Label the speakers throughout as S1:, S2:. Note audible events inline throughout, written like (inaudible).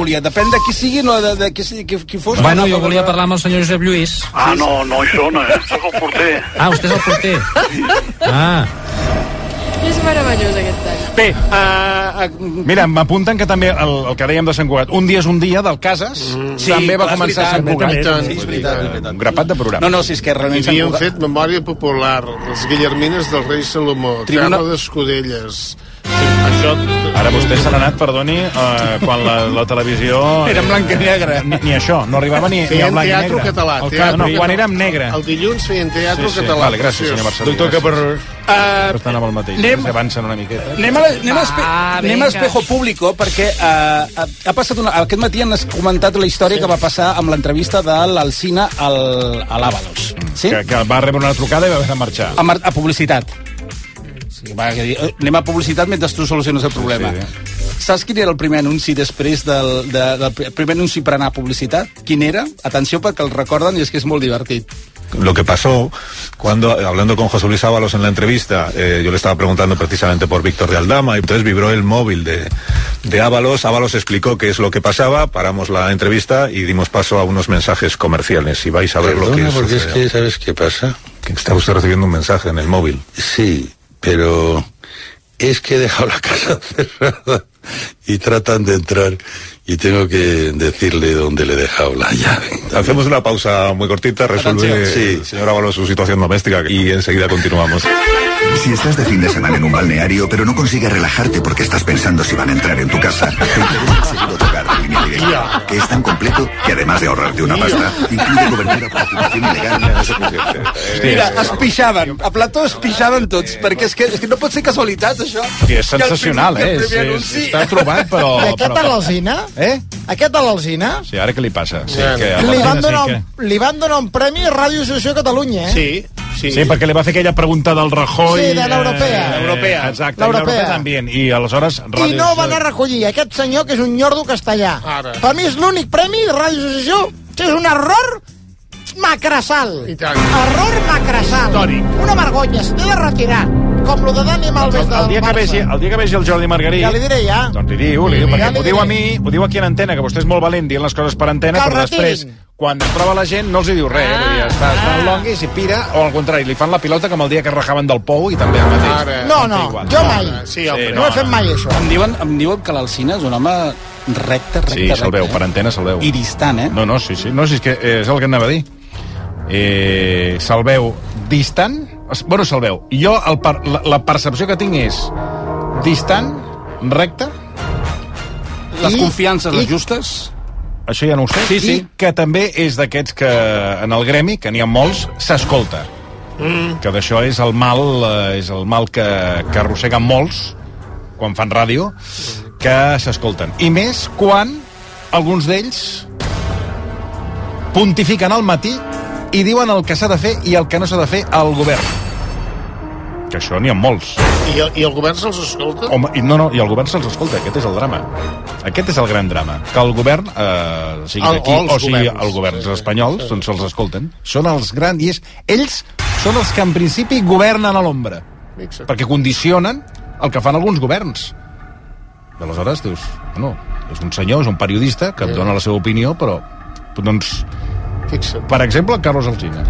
S1: volia, depèn de qui sigui, no de, de, qui, sigui, qui, qui fos.
S2: Bueno, jo volia parlar amb el senyor Josep Lluís.
S3: Ah, no, no hi són, eh? Sóc el porter.
S2: Ah, vostè és el porter. Ah,
S4: És meravellós aquest tall.
S1: Bé, uh, uh,
S5: Mira, m'apunten que també el, el que dèiem de Sant Cugat, un dia és un dia del Cases,
S1: Mm, Sí,
S5: també va
S1: clar, és
S5: començar
S1: veritat,
S5: a Sant Cugat.
S6: també, també.
S1: sí, és veritat, és veritat.
S5: Un grapat de programa.
S1: No, no, si és que
S6: Hi
S1: realment s'han
S6: havien
S1: bugat.
S6: fet memòria popular, les Guillermines del rei Salomó,
S1: Tribuna-
S6: Tribuna... Terra d'Escudelles. Sí, això...
S5: Ara vostè se n'ha anat, perdoni, eh, quan la, la televisió...
S1: Era en blanc i negre.
S5: Ni, ni això, no arribava ni, ni a
S6: Feien
S5: blanc i
S6: teatre
S5: negre.
S6: català.
S5: El,
S6: teatre
S5: no, quan
S6: català.
S5: érem negre.
S6: El dilluns feien teatre
S5: Sí, sí.
S6: català.
S5: Vale, gràcies, senyor Marcelí.
S6: Doctor
S5: Gràcies.
S6: Caparrós.
S1: Uh,
S5: Estan amb el mateix. eh,
S1: Anem-
S5: S'avancen una miqueta.
S1: Anem, a, la- anem, a, espe
S5: Ah,
S2: Va,
S1: anem a
S2: vinga.
S1: Espejo Público perquè uh, ha, ha passat una, aquest matí han comentat la història sí. que va passar amb l'entrevista de l'Alcina al, a l'Avalos. Sí?
S5: Que, que va rebre una trucada i va haver de marxar.
S1: a, mar- a publicitat. Sí, va, que dir, eh, anem a publicitat mentre tu soluciones el problema.
S5: Sí,
S1: Sí, sí. Saps quin era el primer anunci després del, de, del pr- primer anunci per anar a publicitat? Quin era? Atenció perquè el recorden i és que és molt divertit.
S7: lo que pasó cuando, hablando con José Luis Ábalos en la entrevista, eh, yo le estaba preguntando precisamente por Víctor de Aldama, y entonces vibró el móvil de, de Ábalos. Ábalos explicó qué es lo que pasaba, paramos la entrevista y dimos paso a unos mensajes comerciales. Y vais a ver lo que
S8: Perdona, porque es
S7: sucedió.
S8: que, ¿sabes qué pasa?
S7: Que Está usted recibiendo un mensaje en el móvil.
S8: Sí, pero es que he dejado la casa cerrada (laughs) y tratan de entrar y tengo que decirle dónde le he dejado la llave.
S7: Hacemos una pausa muy cortita, resuelve
S8: Atención. Sí.
S7: el señor Ábalos su situación doméstica y enseguida continuamos.
S9: Si estás de fin de semana en un balneario, pero no consigues relajarte porque estás pensando si van a entrar en tu casa, te interesa seguro tocar de línea directa, que es tan completo que además de ahorrarte una pasta, incluye cobertura para ocupación ilegal.
S1: Mira, es pixaven. A plató es pixaven tots, perquè és que, és que no pot ser casualitat, això.
S5: Sí, és sensacional,
S1: que el
S5: eh?
S1: primer-
S5: És,
S1: que el primer
S5: és,
S1: anunci-
S5: està trobat, però...
S10: I aquest a
S5: però...
S10: l'Alzina?
S5: Eh?
S10: Aquest a l'Alzina?
S5: Sí, ara què li passa? Sí,
S6: Bueno.
S5: que a
S10: Li
S5: l'Alzina
S10: van, donar
S5: sí,
S10: un, li van donar un premi a Ràdio Associació Catalunya, eh?
S6: Sí, sí.
S5: que... sí, perquè li va fer aquella pregunta del Rajoy...
S10: Sí, de l'europea.
S5: Europea. Exacte,
S10: L'europea.
S5: l'europea també. I aleshores...
S10: I
S5: Ràdio
S10: no van a
S5: Societat-
S10: recollir aquest senyor que és un nyordo castellà.
S6: Ara.
S10: Per mi és l'únic premi de Ràdio Associació que és un error macrasal.
S6: I tant.
S10: Error macrasal.
S6: Històric.
S10: Una vergonya, s'ha de retirar. Com lo de Dani Malves
S5: El,
S10: del
S5: el, dia que
S10: Barça.
S5: vegi, el dia que vegi el Jordi Margarit...
S10: Ja li diré ja.
S5: Doncs li diu, li diu, perquè
S10: Ja li
S5: m'ho diu a mi,
S10: diré.
S5: ho diu aquí en antena, que vostè és molt valent dient les coses per antena,
S10: Que el
S5: però després,
S10: retirin.
S5: quan es troba la gent, no els hi diu res. Ah, dir, es fa, es fa el longuis i pira, o al contrari, li fan la pilota com el dia que es rajaven del pou i també el mateix.
S6: Ara.
S10: No, no,
S5: igual.
S10: jo mai.
S6: Sí, el
S5: Sí,
S6: sí,
S10: No he fet mai això.
S1: Em diuen, em diuen que l'Alcina és un home recte, recte,
S5: Sí,
S1: recte.
S5: se'l veu,
S1: eh?
S5: per antena se'l veu.
S1: I distant, eh?
S5: No, no, sí, sí. No, sí, és que eh, és el que anava a dir. Eh, se'l veu distant... es- Bueno, se'l veu. Jo, el per, la, la percepció que tinc és distant, recte,
S1: Les
S10: I-
S1: confiances, les
S10: i-
S1: justes...
S5: això ja no ho sé,
S1: Sí, sí.
S5: i que també és d'aquests que en el gremi, que n'hi ha molts, s'escolta. Mm. Que d'això és el mal, eh, és el mal que, que arrosseguen molts quan fan ràdio, que s'escolten. I més quan alguns d'ells pontifiquen al matí i diuen el que s'ha de fer i el que no s'ha de fer al govern. Que això n'hi ha molts.
S6: I, el- I el govern se'ls escolta?
S5: Home, i no, no, i el govern se'ls escolta, aquest és el drama. Aquest és el gran drama, que el govern, eh, sigui
S6: El-
S5: d'aquí,
S6: Ah, o els
S5: o sigui
S6: governs.
S5: el govern
S6: Sí, sí,
S5: espanyols, doncs se'ls escolten. Són els grans, i és, ells són els que en principi governen a l'ombra,
S6: Fixa't.
S5: perquè condicionen el que fan alguns governs. I aleshores dius, bueno, és un senyor, és un periodista, que et dona la seva opinió, però doncs,
S6: Fixa't.
S5: per exemple, Carlos Alsina.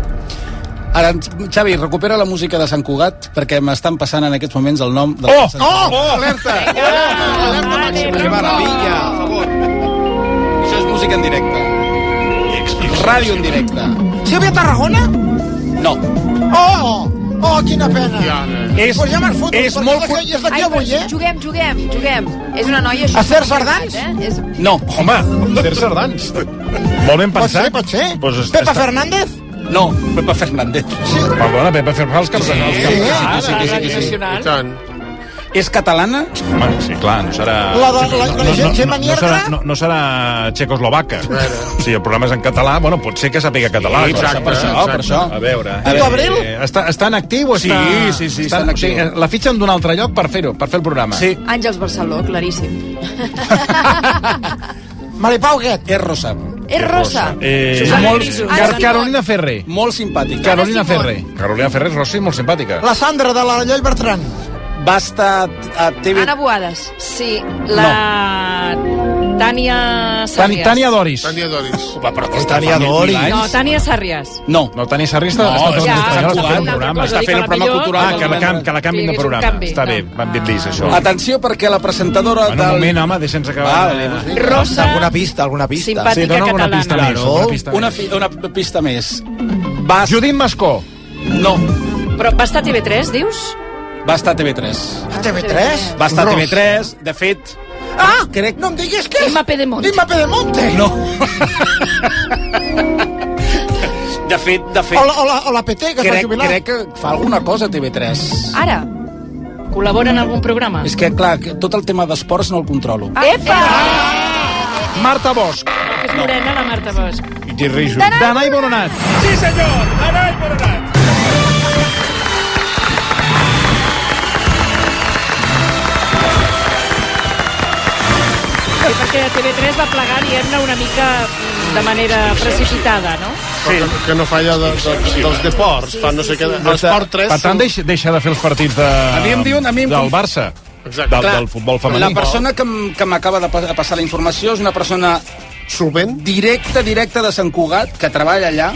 S1: Ara, Xavi, recupera la música de Sant Cugat perquè m'estan passant en aquests moments el nom... De Sant Cugat.
S5: oh!
S6: Alerta!
S1: (laughs)
S5: Ah,
S6: Alerta màxima.
S1: Que meravella, a favor. Això és música en directe. Ràdio en directe.
S10: Sílvia Tarragona?
S1: No.
S10: Oh, oh, quina pena.
S6: Ja, eh.
S5: És,
S10: Pues ja me'n foto,
S5: és
S10: perquè
S5: molt...
S10: és d'aquí- És d'aquí
S4: Ai,
S10: avui, eh?
S4: juguem, juguem, juguem. És una noia...
S10: A fer
S4: super-
S10: sardans?
S4: Eh? És...
S1: No.
S5: Home, Ter Sardans.
S1: (laughs)
S5: Molt ben
S10: Pot ser,
S5: pensat.
S10: pot ser.
S5: Pues es-
S10: Pepa
S5: està-
S10: Fernández?
S1: No, Pepa Fernández.
S10: Sí.
S5: Perdona, Pepa Fernández, que els els que-
S10: Sí.
S6: Sí, sí, sí, sí. I tant.
S1: És catalana?
S5: Home, sí, clar, no serà...
S10: La de- la- la Gemma
S5: no,
S10: Nierga?
S5: serà, no, no serà txecoslovaca. Si el programa és en català, bueno, pot ser que sàpiga català.
S6: Sí,
S5: clar,
S6: exacte,
S5: per això, per això.
S6: exacte.
S5: A veure...
S1: I
S10: tu, Abril?
S5: Eh, està, està en actiu o està...
S1: Sí, sí, sí,
S5: està,
S1: està en actiu.
S5: actiu. Eh, La fitxen d'un altre lloc per fer-ho, per fer el programa.
S1: Sí.
S4: Àngels Barceló, claríssim.
S10: Maripau Guet.
S1: És rosa.
S4: És rosa.
S5: Eh,
S4: Susana
S5: molt...
S4: Griso.
S5: Car
S4: Ara
S5: Carolina Ferrer.
S1: Molt simpàtica.
S5: Carolina
S4: Simón.
S5: Ferrer. Carolina Ferrer és Rossi, molt simpàtica.
S10: La Sandra de la Lloll Bertran.
S1: Va estar a TV...
S4: Anna Boades. Sí, la... No.
S11: Tània
S5: Tani,
S11: Sàrries.
S5: Tània Doris.
S3: Tània Doris.
S5: Home, però aquesta
S1: Tània
S5: fa mil
S1: Doris.
S5: anys.
S11: No, Tània Sàrries.
S1: No.
S5: No, Tània Sarri està,
S1: No,
S5: està tot
S1: ja,
S5: l'estany,
S1: està
S5: està fent
S1: jugant,
S5: un
S1: una
S5: programa.
S1: cosa,
S5: Està
S1: dic,
S5: fent
S1: a
S5: un
S1: la
S5: programa
S1: millor-
S5: cultural. Ah, que la, cam, que la
S11: Sí,
S5: canviïn de
S11: és un
S5: programa.
S11: canvi.
S5: Està bé,
S11: No.
S5: m'han dit dir això.
S1: Atenció, perquè la presentadora
S5: En un
S1: del... Ah,
S5: moment, home, deixa'ns acabar.
S1: Vale, doncs
S5: de-
S11: Rosa,
S10: Alguna pista, alguna pista.
S11: simpàtica
S12: Sí, dona alguna
S11: catalana.
S12: pista més.
S10: Claro.
S12: Alguna pista
S1: Una,
S12: més.
S1: fi, una pista més. Va,
S5: Judit Mascó.
S1: no,
S11: Però va estar a TV3, dius?
S1: va estar a TV3.
S10: A TV3?
S1: Va estar a
S3: Ros.
S1: TV3, de fet...
S10: Ah,
S1: Crec-
S10: no em diguis què és.
S11: Imma Pedemonte.
S10: Imma Pedemonte.
S1: No. De fet, de fet...
S10: O la, o la, o la PT, que es va
S1: crec,
S10: jubilar.
S1: crec que fa alguna cosa a TV3.
S11: Ara? Col·labora en algun programa?
S1: És que, clar, que tot el tema d'esports no el controlo.
S13: Ah,
S11: Epa!
S13: eh,
S5: Marta Bosch.
S11: És morena, la Marta Bosch.
S5: I rijo. Danai Bononat.
S1: Sí, senyor! Arai, Boronat!
S11: Sí, perquè a TV3 va plegar, diguem-ne, una mica mm, de manera precipitada, no?
S3: Sí. Que, que no falla de, de, dels deports. Fa no sé què. L'esport 3...
S5: Per tant, deixa, deixa de fer els partits de, a
S1: mi em diuen- a mi em
S5: del
S1: conf-
S5: Barça.
S3: Exacte.
S5: Del,
S3: Clar.
S5: del futbol femení.
S1: La persona que m- que m'acaba de pa- de passar la informació és una persona
S3: Solvent?
S1: directa, directa de Sant Cugat, que treballa allà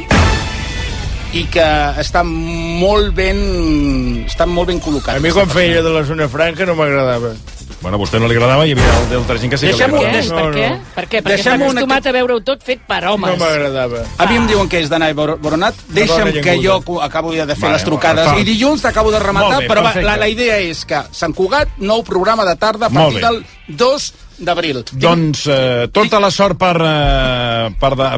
S1: i que està molt ben... està molt ben col·locat.
S10: A mi quan feia de la zona franca no m'agradava.
S5: Bueno, a vostè no li agradava i hi havia el d'altra gent que sí que li
S1: Deixem-ho-
S11: Per
S5: agradava.
S11: què?
S1: no,
S11: per
S10: no.
S11: què? Eh? Per què? Perquè està
S1: Deixem una-
S11: acostumat a veure-ho tot fet per
S10: No
S11: homes.
S10: m'agradava.
S1: A mi em diuen que és d'anar Boronat. Deixa'm
S10: llenguda.
S1: que jo co- acabo ja de fer
S5: Vale,
S1: les trucades.
S5: vale.
S1: I dilluns t'acabo de rematar,
S5: Molt bé,
S1: però va,
S5: perfecte.
S1: la, la idea és que Sant Cugat, nou programa de tarda a partir
S5: Molt bé.
S1: del 2 d'abril.
S5: Doncs eh, tota la sort per... Eh, per de...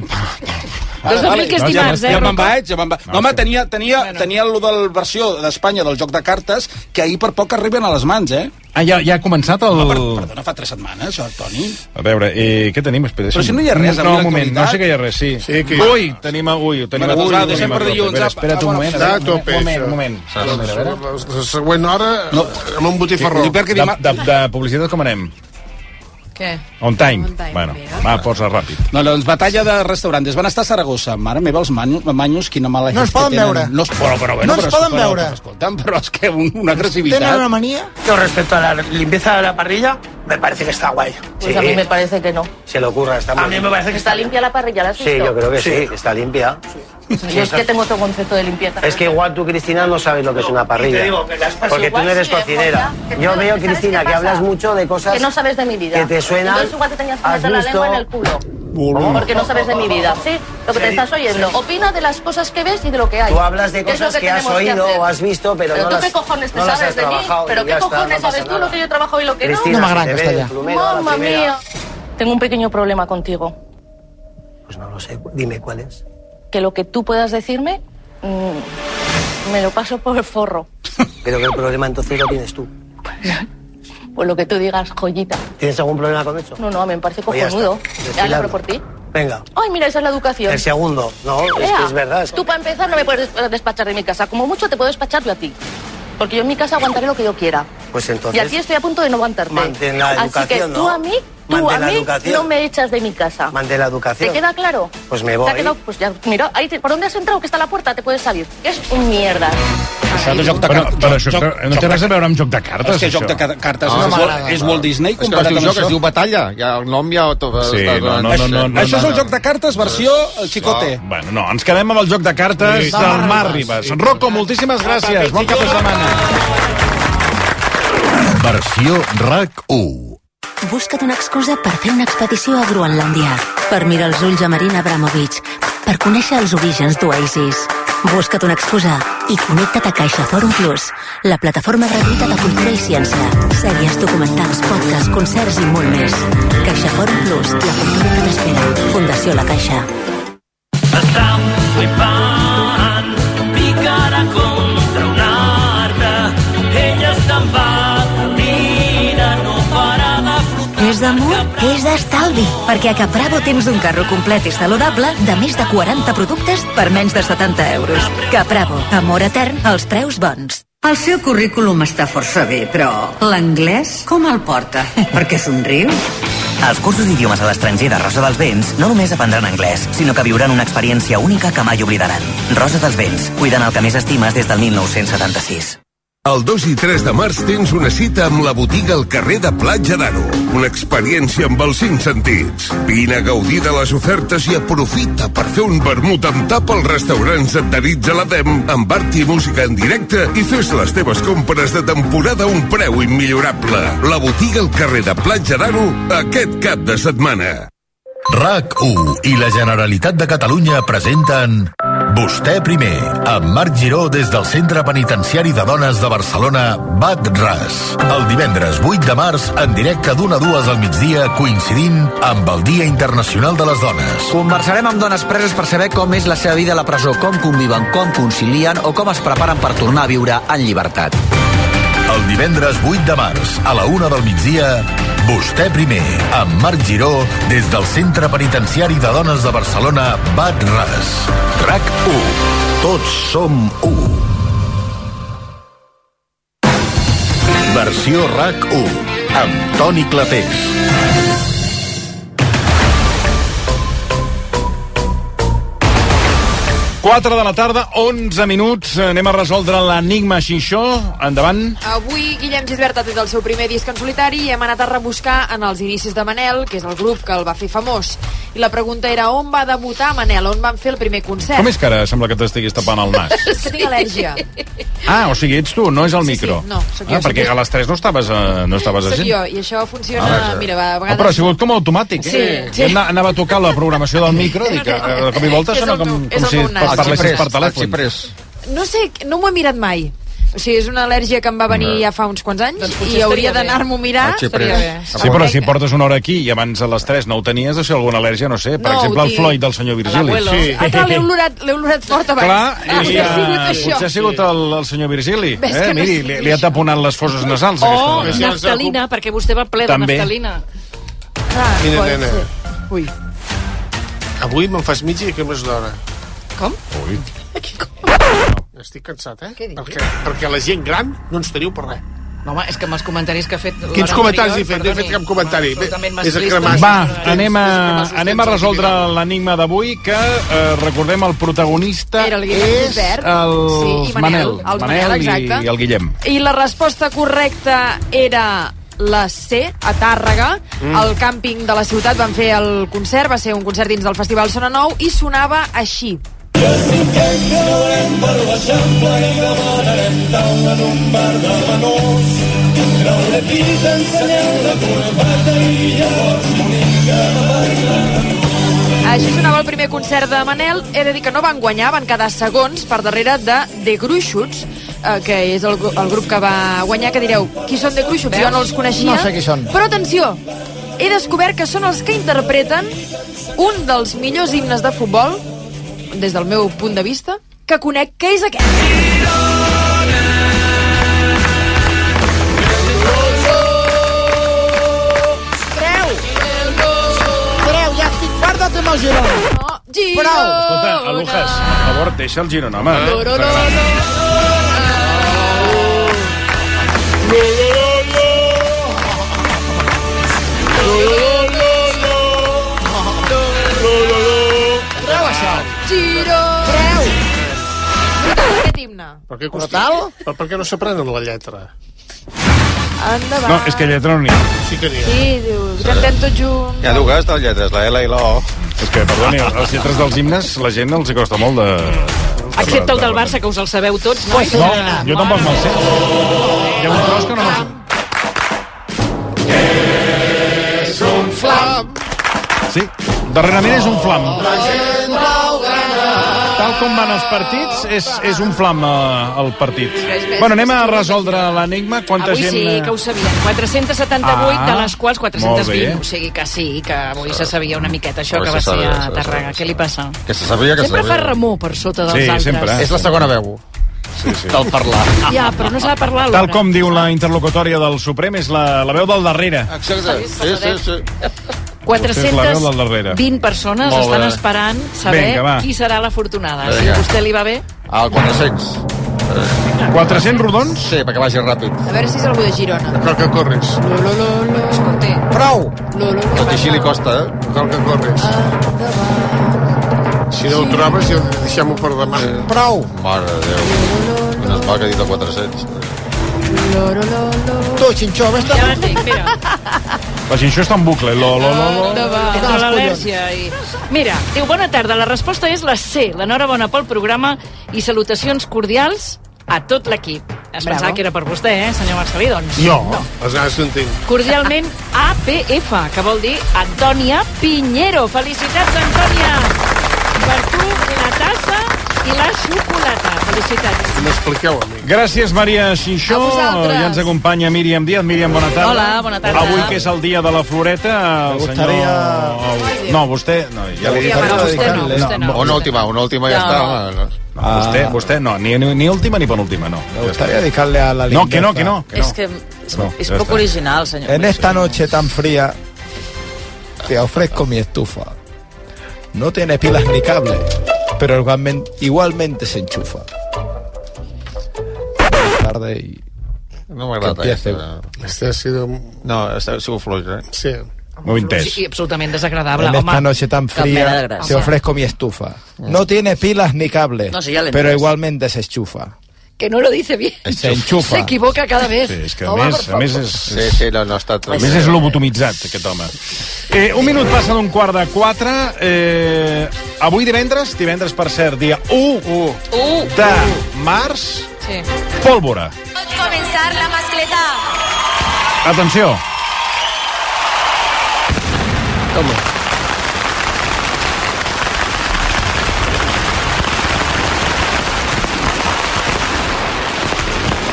S11: Dos d'abril, que és
S5: No, ja
S11: dimarts,
S5: m'has-
S11: eh?
S1: Ja me'n
S11: Rocco?
S1: vaig, ja me'n vaig. No, home, tenia, tenia, tenia el de la versió d'Espanya del joc de cartes que ahir per poc arriben a les mans, eh?
S5: Ah, ja, ja ha començat el...
S1: Per, perdona, fa tres setmanes, això, Toni.
S5: A veure, eh, què tenim? Espera,
S1: Però
S5: deixa'm-
S1: si no hi ha res, avui
S5: No, un moment,
S1: l'actualitat.
S5: no sé que hi ha res, sí.
S3: Sí, que hi ha.
S5: Ui, tenim... Ui, ho tenim...
S1: Bueno, doncs
S5: a
S1: va,
S5: tot. Ui, ho
S1: deixem
S5: tenim a
S1: per
S5: tot.
S1: dilluns, ah,
S5: A veure,
S1: apa,
S5: Espera't un
S1: bona
S5: moment. a
S3: Està a
S5: veure,
S3: tope,
S5: Un moment,
S3: això.
S5: un moment.
S3: Doncs,
S5: A veure, a veure.
S3: la, la següent hora, no. amb un botifarró.
S1: Dic perquè
S5: De,
S1: dimar-
S5: de, de publicitat com anem?
S7: Què?
S5: On time.
S7: On time,
S5: bueno,
S7: mira.
S5: va, posa ràpid.
S1: No, doncs, batalla de restaurantes. Van estar a Saragossa. Mare meva, els manyos, manyos quina mala
S10: No
S1: gent
S10: es
S1: que
S10: poden
S1: tenen.
S10: veure.
S1: No es, però, però, bueno,
S10: No es
S1: però,
S10: poden
S1: però,
S10: veure.
S1: Però, escolta'm, però és que un, una
S10: Tenen
S1: agressivitat...
S10: una manía.
S14: Con respecto a la limpieza de la parrilla, me parece que está guay.
S11: Pues a mí me parece que no.
S14: Se le ocurra, está A mí me parece que está
S11: limpia la parrilla, ¿la has visto?
S14: creo que sí, está limpia.
S11: Yo es que tengo otro concepto de limpieza.
S14: Es que igual tú, Cristina, no sabes lo que es una parrilla. porque tú no eres cocinera. Yo veo, Cristina, que hablas mucho de cosas
S11: Que no sabes de mi vida.
S14: que te suenan.
S11: Entonces igual te tenías que
S14: ¿Has
S11: meter la
S14: visto?
S11: lengua en el culo. Porque no sabes de mi vida. Sí, lo que te estás oyendo. Opina de las cosas que ves y de lo que hay.
S14: Tú hablas de
S11: ¿Qué es lo
S14: cosas que, has
S11: tenemos
S14: oído
S11: hacer?
S14: o has visto, pero,
S11: Pero
S14: no
S11: tú
S14: las,
S11: qué cojones te
S14: no las
S11: sabes
S14: has
S11: de mí.
S14: trabajado.
S11: Pero
S14: y
S11: qué
S14: ya está,
S11: cojones
S14: no pasa
S11: sabes tú
S14: nada.
S11: lo que yo trabajo y lo que
S14: Cristina,
S10: No me
S14: se
S10: arrancas,
S14: te ve
S10: está
S14: el
S10: ya.
S14: plumero a la primera.
S11: Tengo un pequeño problema contigo.
S14: Pues no lo sé, dime cuál es.
S11: Que lo que tú puedas decirme, mm, me lo paso por el forro.
S14: Pero que el problema entonces lo tienes tú.
S11: Pues lo que tú digas, joyita.
S14: ¿Tienes algún problema con eso?
S11: No, no, me parece
S14: Pues ya está.
S11: cojonudo. Ya lo
S14: Desfilado.
S11: hablo por ti.
S14: Venga,
S11: Ay, mira, esa es la educación.
S14: el segundo. No, es que
S11: Ea,
S14: es verdad. es que-
S11: Tú para empezar no me puedes des- despachar de mi casa. Como mucho te puedo despachar yo a ti. Porque yo en mi casa aguantaré lo que yo quiera.
S14: Pues
S11: y
S14: entonces...
S11: aquí estoy a punto de no aguantarte.
S14: mantén la
S11: Así que
S14: educación,
S11: tú
S14: ¿no?
S11: a mí, tú
S14: Mantén
S11: a
S14: la
S11: mí
S14: educación.
S11: no me echas de mi casa.
S14: Mantén la educación.
S11: ¿Te queda claro?
S14: Pues me
S11: ¿Te ha
S14: voy.
S11: quedado? Pues ya, mira, ahí te- ¿por dónde has entrado? Que está la puerta, te puedes salir. Que es un mierda.
S1: Això de joc de
S5: Però,
S1: cartes...
S5: però això no té res a veure amb joc de cartes,
S1: És que joc de
S5: això.
S1: ca- cartes
S10: No
S5: Ah,
S1: és,
S10: m'agrada,
S1: Walt- és Walt Disney
S10: És que no es
S1: comparat
S10: diu
S1: amb
S10: joc, es
S1: això.
S10: diu batalla. Ja, el nom ja... Tot,
S5: Sí, no,
S10: està
S5: no,
S10: donant-
S5: no, no, no,
S1: Això és
S5: no,
S1: el
S5: no.
S1: joc de cartes versió el xicote.
S5: Bueno, no, ens quedem amb el joc de cartes
S10: Sí.
S5: del Mar Ribas. Rocco, moltíssimes gràcies. Bon cap de setmana.
S15: Versió RAC1.
S16: Busca't una excusa per fer una expedició a Groenlàndia, per mirar els ulls a Marina Abramovic, per conèixer els orígens d'Oasis. Busca't una excusa i connecta't a Caixa Forum Plus, la plataforma gratuïta de cultura i ciència. Sèries, documentals, podcasts, concerts i molt més. Caixa Forum Plus, la cultura que t'espera. Fundació La Caixa.
S11: Es de amor.
S16: És d'estalvi, perquè a Capravo tens un carro complet i saludable de més de 40 productes per menys de 70 euros. Capravo, amor etern, als preus bons.
S11: El seu currículum està força bé, però l'anglès com el porta? Perquè somriu?
S14: Als cursos d'idiomes a l'estranger de Rosa dels Vents no només aprendran anglès, sinó que viuran una experiència única que mai oblidaran. Rosa dels Vents, cuidant el que més estimes des del 1976.
S12: El 2 i 3 de març tens una cita amb la botiga al carrer de Platja d'Aro. Una experiència amb els cinc sentits. Vine a gaudir de les ofertes i aprofita per fer un vermut amb tap als restaurants adherits a l'ADEM, amb art i música en directe i fes les teves compres de temporada a un preu immillorable. La botiga al carrer de Platja d'Aro aquest cap de setmana.
S15: RAC1 i la Generalitat de Catalunya presenten Vostè primer, amb Marc Giró des del Centre Penitenciari de Dones de Barcelona, Bat Ras. El divendres 8 de març, en directe d'una a dues al migdia, coincidint amb el Dia Internacional de les Dones.
S17: Conversarem amb dones preses per saber com és la seva vida a la presó, com conviven, com concilien o com es preparen per tornar a viure en llibertat.
S15: El divendres 8 de març, a la una del migdia, Vostè primer, amb Marc Giró, des del Centre Penitenciari de Dones de Barcelona, Bat Ras. RAC 1. Tots som 1. Versió RAC 1, amb Toni Clapés.
S5: Quatre de la tarda, 11 minuts. Anem a resoldre l'enigma xinxó. Endavant.
S4: Avui Guillem Gisbert ha tret el seu primer disc en solitari i hem anat a rebuscar en els inicis de Manel, que és el grup que el va fer famós. I la pregunta era on va debutar Manel, on van fer el primer concert?
S5: Com és que ara sembla que t'estiguis tapant el nas?
S4: És que tinc al·lèrgia.
S5: (laughs) Ah, o sigui, ets tu, no és el
S4: Sí,
S5: micro.
S4: sí, no, sóc jo,
S5: Ah,
S4: sóc
S5: perquè
S4: jo.
S5: a les 3 no estaves, eh, no estaves
S4: Soc
S5: així.
S4: jo, i això funciona...
S5: Ah,
S4: mira, va, a
S5: Ah,
S4: vegades...
S5: però ha sigut com automàtic, eh?
S4: Sí, sí.
S5: Jo ana- anava a tocar la programació del micro
S4: (laughs)
S5: i que, eh, de cop i volta
S4: És el
S5: sona
S4: meu-
S5: com,
S4: és
S5: com
S4: el
S5: si
S4: meu nas.
S5: parlessis per
S18: Arxiprés,
S5: telèfon. Ah,
S18: arxiprés.
S4: No sé, no m'ho he mirat mai. O sigui, és una al·lèrgia que em va venir ja fa uns quants anys i
S19: Doncs potser estaria
S4: hauria
S19: bé.
S4: d'anar-m'ho a mirar. Estaria bé.
S5: Sí, Ah, però si portes una hora aquí i abans a les 3 no ho tenies, això alguna al·lèrgia, no sé. Per
S4: No, ho
S5: exemple, el
S4: tinc.
S5: Floyd del senyor Virgili.
S4: L'abuelo. Ah, clar, l'he olorat, l'he olorat fort abans. Ah,
S5: Clar, i,
S4: Hauria sigut
S5: eh,
S4: això.
S5: potser ha sigut el, el senyor Virgili.
S4: Ves
S5: Eh?
S4: que no
S5: Miri,
S4: sigui
S5: li, li ha taponat les foses nasals.
S19: O
S4: Oh,
S5: aquesta dona.
S19: naftalina, perquè vostè va ple de
S5: També.
S19: naftalina.
S4: Clar,
S6: Mira, nena.
S4: Ui.
S6: Avui me'n fas mitja i que més d'hora.
S4: Com?
S5: Ui.
S6: Estic cansat, eh? Perquè, perquè la gent gran no ens teniu per res.
S13: No, home, és que amb els comentaris que ha fet... l'hora
S6: Quins comentaris he fet?
S13: anterior,
S6: No he fet
S13: perdoni,
S6: cap comentari.
S13: home, absolutament
S6: Bé, és el
S13: masclista.
S6: cremàs.
S5: Va, anem a, anem a resoldre l'enigma d'avui, que eh, recordem el protagonista
S4: Era el Guillem
S5: és
S4: Gisbert.
S5: el
S4: Sí, i Manel.
S5: Manel,
S4: El Manel, exacte.
S5: i, i el Guillem.
S4: I la resposta correcta era la C, a Tàrrega,
S5: Mm.
S4: mm. al càmping de la ciutat van fer el concert, va ser un concert dins del Festival Sona Nou i sonava així. Així sonava el primer concert de Manel. He de dir que no van guanyar, van quedar segons per darrere de The Gruixuts, eh, que és el, gru- el grup que va guanyar, que direu, qui són The Gruixuts? Jo no els coneixia.
S18: No sé qui són.
S4: Però atenció, he descobert que són els que interpreten un dels millors himnes de futbol, des del meu punt de vista, que conec, que és aquest.
S18: Creu! Creu, ja estic fart del meu Girona.
S4: Girona!
S5: Escolta, Alujas, per favor, deixa el Girona, home.
S18: No, no, no,
S4: Treu això! Giro! Treu! Aquest himne.
S6: Per què costal? Però per què no s'aprenen la lletra?
S4: Endavant.
S5: No, és que lletra no n'hi ha.
S6: Sí que n'hi ha.
S4: Sí, diu, cantem tots junts.
S5: Hi ha dues de lletres, la L i la O. Oh, És que, perdoni, les lletres dels himnes, la gent els hi costa molt de...
S19: Excepte el del Barça, que us el sabeu tots, no?
S5: No, jo tampoc me'l sé. Hi ha un tros que no me'l sé.
S18: És un flam.
S5: Sí, darrerament és un flam.
S18: La gent blaugrana.
S5: Tal com van els partits, és, és un flam eh, el partit. Bueno, anem a resoldre l'enigma. Quanta
S19: avui
S5: gent... eh?
S19: sí que ho sabien. 478,
S5: Ah,
S19: de les quals
S5: molt bé.
S19: 420. O sigui que sí, que avui se sabia una miqueta això
S18: Avui se
S19: que va ser
S18: sabia,
S19: a
S18: se
S19: Tarraga. Què li passa?
S18: Que se sabia que se
S19: sempre
S18: sabia.
S19: fa remor per sota dels
S5: Sí,
S19: altres.
S5: sempre. eh?
S18: És la segona veu.
S5: Sí, sí.
S18: Del parlar.
S19: Ja, però no s'ha de parlar
S5: Tal
S19: alhora.
S5: com diu la interlocutòria del Suprem, és la, la veu del darrere.
S18: Exacte. Sí, sí, sí.
S5: Vostè és la veu del darrere.
S19: 420 persones
S5: Molt
S19: estan
S5: bé.
S19: esperant saber
S5: Vinga, va.
S19: qui serà l'afortunada. Si
S18: Vinga.
S19: a vostè li va bé...
S18: Al 400.
S6: Eh.
S5: 400 rodons?
S18: Ah, Sí, perquè vagi ràpid.
S4: A veure si és algú de Girona.
S18: Cal que corres.
S4: Escolta.
S18: Prou!
S4: Lo, lo,
S18: Tot i així li costa, eh? Cal que corres.
S6: Si no ho trobes, ja deixem-ho per demà.
S18: Prou! Mare de Déu. Menos mal que ha dit el 400.
S4: Tu, Xinxó, vés-te...
S19: Ja l'entenc, mira.
S5: La xinxó està en bucle. Lo, lo, lo, lo.
S19: No va,
S4: Què
S19: no,
S4: tens,
S19: Ah, l'al·lèrgia. I... Mira, diu, bona tarda, la resposta és la C, l'enhorabona pel programa i salutacions cordials a tot l'equip. Es
S3: Bravo.
S19: pensava que era per vostè, eh, senyor Marcelí, doncs.
S3: Jo? No. Les nanes no entenc.
S19: Cordialment, APF, que vol dir Antònia Pinheiro. Felicitats, Antònia! Per tu, la tassa i la xocolata. Felicitats.
S3: M'expliqueu a mi.
S5: Gràcies, Maria Xinxó.
S19: A vosaltres.
S5: Ja ens acompanya Míriam Díaz. Míriam, bona tarda.
S19: Hola, bona tarda.
S5: Avui que és el dia de la floreta, el senyor... No, vostè... No, ja li he dit.
S1: Bueno, vostè no, vostè no. Una última, una última ja
S5: No.
S1: està.
S5: No, vostè, vostè no, ni, ni, ni última ni penúltima, no. Ja està.
S1: gustaría dedicarle a la
S5: No,
S1: Linda
S5: que no,
S1: esta.
S5: que no. Que no.
S13: És que és,
S5: No,
S13: és
S5: ja
S13: poc
S5: està. Eh,
S13: original, senyor.
S1: En esta noche tan fría te ofrezco mi estufa. No tiene pilas ni cable, pero igualmen- igualmente se enchufa. Buenas tardes y No
S13: m'agrada
S1: que empiece.
S3: Este ha sido...
S1: No, este ha sido flojo, eh?
S3: Sí.
S1: Muy
S13: I absolutament desagradable.
S1: En
S13: home.
S1: esta noche tan
S13: Cap mena de
S1: fría
S13: gràcia.
S1: te ofrezco mi estufa. No tiene pilas ni cable,
S13: No, sí, ya lo
S1: pero
S13: entiendes.
S1: igualmente se enchufa.
S13: Que no lo dice bien.
S1: Se enchufa.
S13: Se equivoca cada vez.
S5: Sí, és que a
S13: Home,
S5: més,
S13: per
S5: a
S13: favor.
S5: més és...
S1: Sí, sí, no, no està
S5: A més és lobotomitzat, aquest home. Eh, un minut passa d'un quart de quatre. Eh, avui divendres, divendres per cert, dia 1, 1 de març,
S4: Sí.
S5: pólvora.
S4: Pot començar la mascleta.
S5: Atenció. Toma.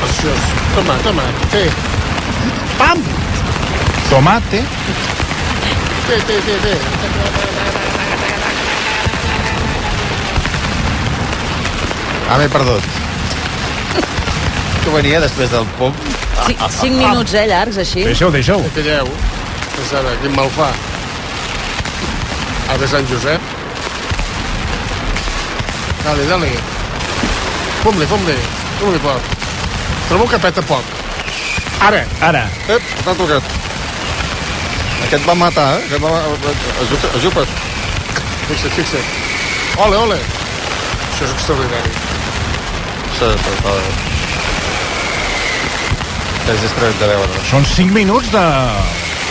S3: Preciós. Toma, toma. Té. Pam!
S5: Tomate.
S3: Té, té, té, té.
S1: Ah, m'he perdut.
S3: Que venia després del pom.
S13: Cinc, cinc minuts, eh, llargs, així.
S5: deixeu.
S3: Calleu. Pues ara, quin mal fa. Ave Sant Josep. Dale, dale. Fum-li, fum-li. Fum-li poc. Trobo que peta poc. Ara.
S5: Ara.
S1: Ep, t'ha tocat.
S3: Aquest va matar, eh? Aquest va... Ajupes. Fixa't, fixa't. Ole, ole. Això és extraordinari.
S1: Sí, per favor. És distret de veure.
S5: Són 5 minuts de...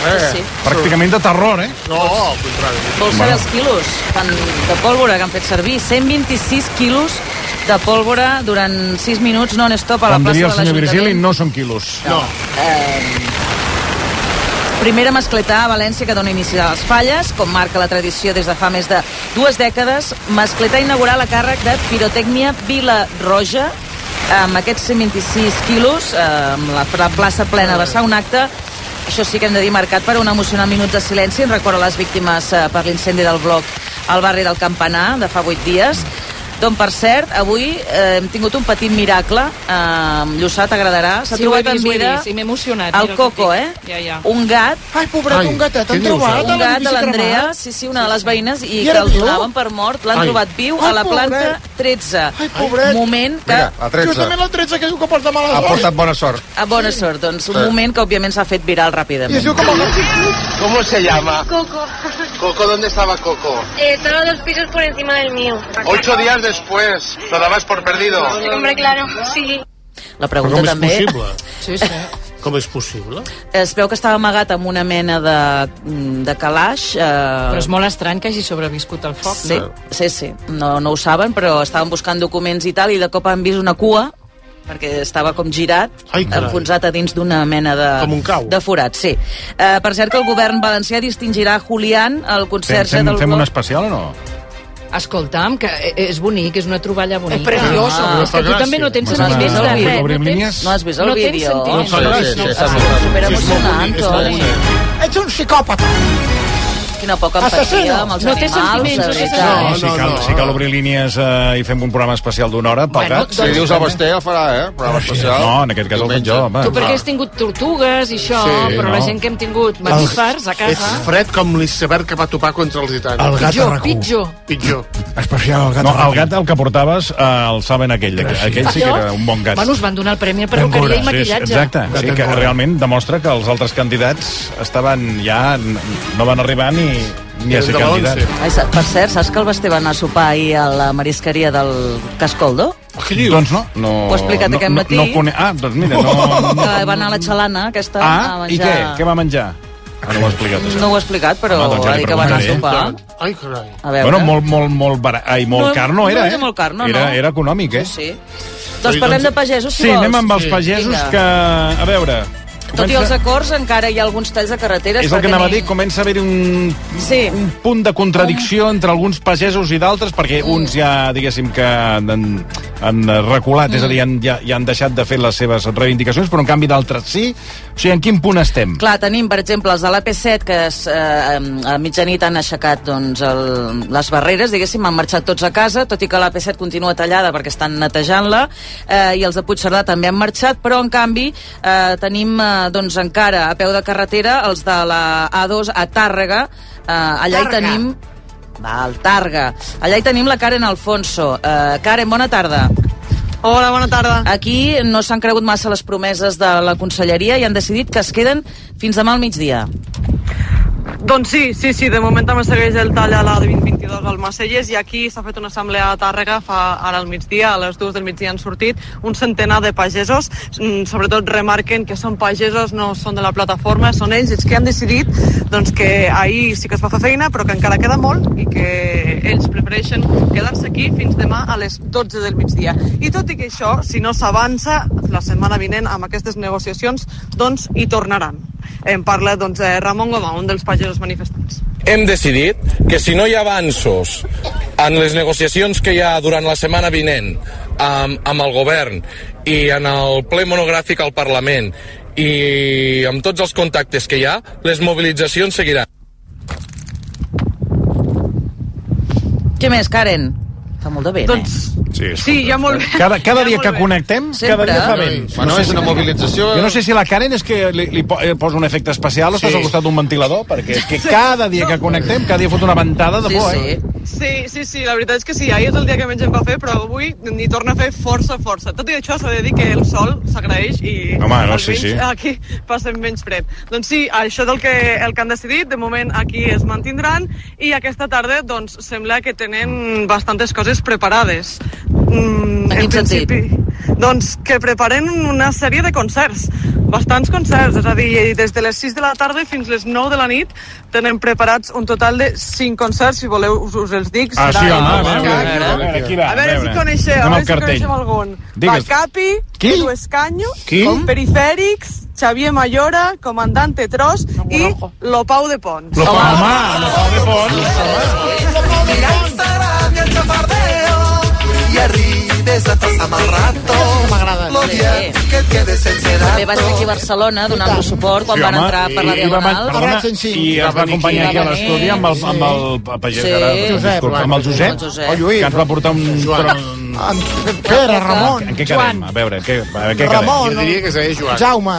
S3: Eh, sí.
S5: Pràcticament de terror, eh?
S3: No, al contrari.
S13: Vol saber els quilos fan de pólvora que han fet servir. 126 quilos de pólvora durant 6 minuts non-stop a la
S5: Com diria
S13: plaça
S5: el
S13: de
S5: senyor Virgili,
S13: l'Ajuntament.
S5: no són quilos.
S13: No. Eh, Primera mascletà a València que dona inici a les falles, com marca la tradició des de fa més de dues dècades. Mascletà inaugural a càrrec de Pirotècnia Vila Roja, amb aquests 126 quilos, eh, amb la pla- plaça plena va ser un acte això sí que hem de dir marcat per un emocionant minut de silenci en record a les víctimes eh, per l'incendi del bloc al barri del Campanar de fa vuit dies d'on, per cert, avui eh, hem tingut un petit miracle. Eh, Lluçà, t'agradarà. S'ha
S19: Sí, ho he
S13: trobat
S19: vist,
S13: en
S19: ho he
S13: vida
S19: vist, i m'he emocionat,
S13: el
S19: mira el que
S13: Coco,
S19: et
S13: eh?
S19: dic. Ja, ja.
S13: Un gat.
S4: Ai, pobret, Ai, un gatet, han què dius, trobat eh? a
S13: Un
S4: la
S13: gat de
S4: bici
S13: l'Andrea,
S4: cremat?
S13: sí, sí, una de les veïnes, i,
S4: I
S13: que
S4: era
S13: el
S4: viu?
S13: donaven per mort. L'han
S4: Ai.
S13: trobat viu
S4: Ai,
S13: a la
S4: pobret.
S13: planta 13. Ai,
S4: pobret.
S13: Moment que...
S1: Mira, la 13.
S4: Justament el 13 que diu que porta mala
S1: Ha
S4: sort.
S1: portat bona sort.
S13: A bona sort, doncs, un
S1: Sí.
S13: moment que, òbviament, s'ha fet viral ràpidament.
S4: I es diu com el-
S1: ¿Cómo se llama?
S11: Coco,
S1: Coco, ¿dónde estaba Coco?
S11: eh, todos los pisos por encima del mío.
S1: Ocho días después, lo dabas por perdido.
S11: Hombre, claro, sí.
S13: La
S3: Però
S13: pregunta
S3: com és
S13: també...
S3: possible?
S13: Sí, sí.
S3: Com és possible?
S13: Es veu que estava amagat amb una mena de, de calaix. Eh...
S19: Però és molt estrany que hagi sobreviscut al foc,
S13: Sí,
S19: no?
S13: sí, sí. No, no ho saben, però estaven buscant documents i tal, i de cop han vist una cua perquè estava com girat,
S19: Ai, carai.
S13: enfonsat a dins d'una mena de,
S19: Com un cau.
S13: de forat. Sí. Eh, per cert, que el govern valencià distingirà Julián, el
S5: Fem,
S13: conserge
S5: fem,
S13: del...
S5: fem
S13: bloc.
S5: un especial o no?
S19: Escolta'm, que e- és bonic, és una
S13: Eh,
S19: troballa bonica. És
S13: precioso.
S19: Ah, és que tu també no eh? tens
S13: No has
S19: sentiments
S13: vist el
S19: de
S13: vídeo?
S19: res. No tens-
S13: No has vist el
S19: no tens
S13: vídeo?
S19: sentiments.
S13: No, sí, sí, sí, està molt bé. Superemocionant, Toni.
S4: Ets un psicòpata.
S13: Quina poca empatia
S4: Assassino.
S13: amb els
S4: No té
S13: animals, eh,
S4: sentiments,
S13: de
S4: és
S13: veritat.
S5: No, si Ah, cal, si cal obrir línies eh, i fem un programa especial d'una hora pel
S19: Bueno,
S5: gat.
S19: doncs- Si dius el
S1: Basté el farà, eh? Programa especial.
S5: No, en aquest cas el faig jo, home. Ah,
S19: Tu perquè has tingut tortugues i això,
S3: Sí,
S19: però la
S3: no.
S19: gent que hem tingut mamífers a casa...
S3: Ets fred com l'iceberg que va topar contra els titans.
S19: El gat Pitjor, arracú. pitjor.
S3: Pitjor.
S5: Especial el gat. No, el gat el que portaves, eh, el saben aquell. Aquell sí que era un bon gat.
S19: Bueno, us van donar el premi a perruqueria i maquillatge.
S5: Sí, exacte. Sí, que realment demostra que els altres candidats estaven ja... no van arribar ni, ni a ser candidats.
S13: Ai, sa- Per cert, saps que el Basté va anar a sopar ahir a la marisqueria del Cascoldo?
S5: Doncs no. no
S13: Ho ha explicat
S5: no,
S13: aquest
S5: no,
S13: matí.
S5: No, cone... Ah, doncs mira, no... no...
S13: Que va anar a la xalana aquesta a
S5: Ah, i
S13: menjar...
S5: què? Què va menjar? Ah, no ho ha explicat, això.
S13: No ho he explicat, però
S5: Home, doncs ja
S13: va
S5: li
S13: dir que va anar a sopar.
S5: preguntaré.
S13: Ai, carai. A veure...
S5: Bueno, molt, molt, molt barat. Ai, molt
S13: No,
S5: car no era,
S13: no
S5: eh?
S13: era molt car, no,
S5: era,
S13: no.
S5: Era econòmic, eh?
S13: Sí, Doncs parlem de pagesos, si
S5: Sí,
S13: vols.
S5: anem amb els pagesos
S13: Vinga.
S5: que... A veure...
S13: Tot i
S5: comença-
S13: els acords, encara hi ha alguns talls de carreteres.
S5: És el que
S13: perquè
S5: anava a
S13: ni-
S5: dir, comença a haver-hi un,
S13: sí.
S5: un punt de contradicció entre alguns pagesos i d'altres, perquè
S13: Mm.
S5: uns ja, diguéssim, que han, han reculat, és a
S13: Mm.
S5: dir, han, ja, ja han deixat de fer les seves reivindicacions, però en canvi d'altres sí. O sigui, en quin punt estem?
S13: Clar, tenim, per exemple, els de l'AP7 que es, eh, a mitjanit han aixecat doncs, el, les barreres, diguéssim, han marxat tots a casa, tot i que l'AP7 continua tallada perquè estan netejant-la, eh, i els de Puigcerdà també han marxat, però en canvi eh, tenim eh, doncs, encara a peu de carretera els de la A2 a Tàrrega, eh, allà hi tenim... Val, Targa. Allà hi tenim la Karen Alfonso. Eh, Karen, bona tarda. Hola, bona tarda. Aquí no s'han cregut massa les promeses de la conselleria i han decidit que es queden fins demà al migdia.
S20: Doncs sí, sí, sí, de moment també segueix el tall a la 2022 al Macelles i aquí s'ha fet una assemblea a Tàrrega fa ara al migdia, a les dues del migdia han sortit un centenar de pagesos, Mm, sobretot remarquen que són pagesos, no són de la plataforma, són ells els que han decidit doncs, que ahir sí que es va fer feina però que encara queda molt i que ells prefereixen quedar-se aquí fins demà a les 12 del migdia. I tot i que això, si no s'avança la setmana vinent amb aquestes negociacions, doncs hi tornaran. En parla doncs, eh, Ramon Goma, un dels pagesos manifestants.
S21: hem decidit que si no hi ha avanços en les negociacions que hi ha durant la setmana vinent amb, amb el govern i en el ple monogràfic al Parlament i amb tots els contactes que hi ha, les mobilitzacions seguiran.
S13: Què més, Karen? Fa molt de vent, doncs... eh?
S5: Sí,
S20: Sí, ja molt bé.
S5: Cada, cada dia que connectem,
S13: Sempre.
S5: cada dia fa vent.
S6: Bueno, és una mobilització-
S5: Jo no sé si la Karen és que li, li po- eh, posa un efecte especial o estàs
S6: Sí.
S5: al costat d'un ventilador, perquè és que cada dia que connectem, cada dia fot una ventada de por, eh?
S20: Sí, sí, sí, la veritat és que sí, ahir és el dia que menys em va fer, però avui n'hi torna a fer força, força. Tot i això s'ha de dir que el sol s'agraeix i
S5: Home, no,
S20: almenys
S5: sí, sí.
S20: aquí passem menys fred. Doncs sí, això és el que, el que han decidit, de moment aquí es mantindran i aquesta tarda doncs, sembla que tenen bastantes coses preparades. Mm, en, principi, doncs que preparen una sèrie de concerts, bastants concerts, és a dir, des de les 6 de la tarda fins les 9 de la nit tenen preparats un total de 5 concerts, si voleu us, us els dic.
S5: Ah,
S20: serà-
S5: sí, home, a veure, a veure, a veure, qui va,
S20: a veure si
S5: a veure.
S20: coneixeu, a
S5: Anem al
S20: veure si
S5: cartell.
S20: coneixem algun.
S5: Digues.
S20: Bacapi,
S5: Qui?
S20: Edu Escanyo,
S5: Qui? Com?
S20: Perifèrics, Xavier Mayora, Comandante Tros i Lopau de Pons.
S5: Lopau,
S20: Home,
S5: home, Lopau de
S20: Pons.
S18: Y arribes a tas amarrato. M'agrada. Lo bien que et quedes sense
S13: També va ser aquí a Barcelona donant-lo suport quan
S5: Sí,
S13: van
S5: home,
S13: entrar per la
S5: i- i va man-
S13: Diagonal.
S5: perdona, I ens va acompanyar aquí a l'estudi amb el, amb el, pagès,
S13: Sí.
S5: ara,
S13: Josep,
S5: disculpa, amb el Josep,
S13: Josep. O
S5: que ens va portar un... tron-
S22: Pere, Ramon,
S5: En què
S22: Joan.
S5: quedem? A veure, què, a veure, què
S22: Ramon,
S5: quedem?
S22: Jaume,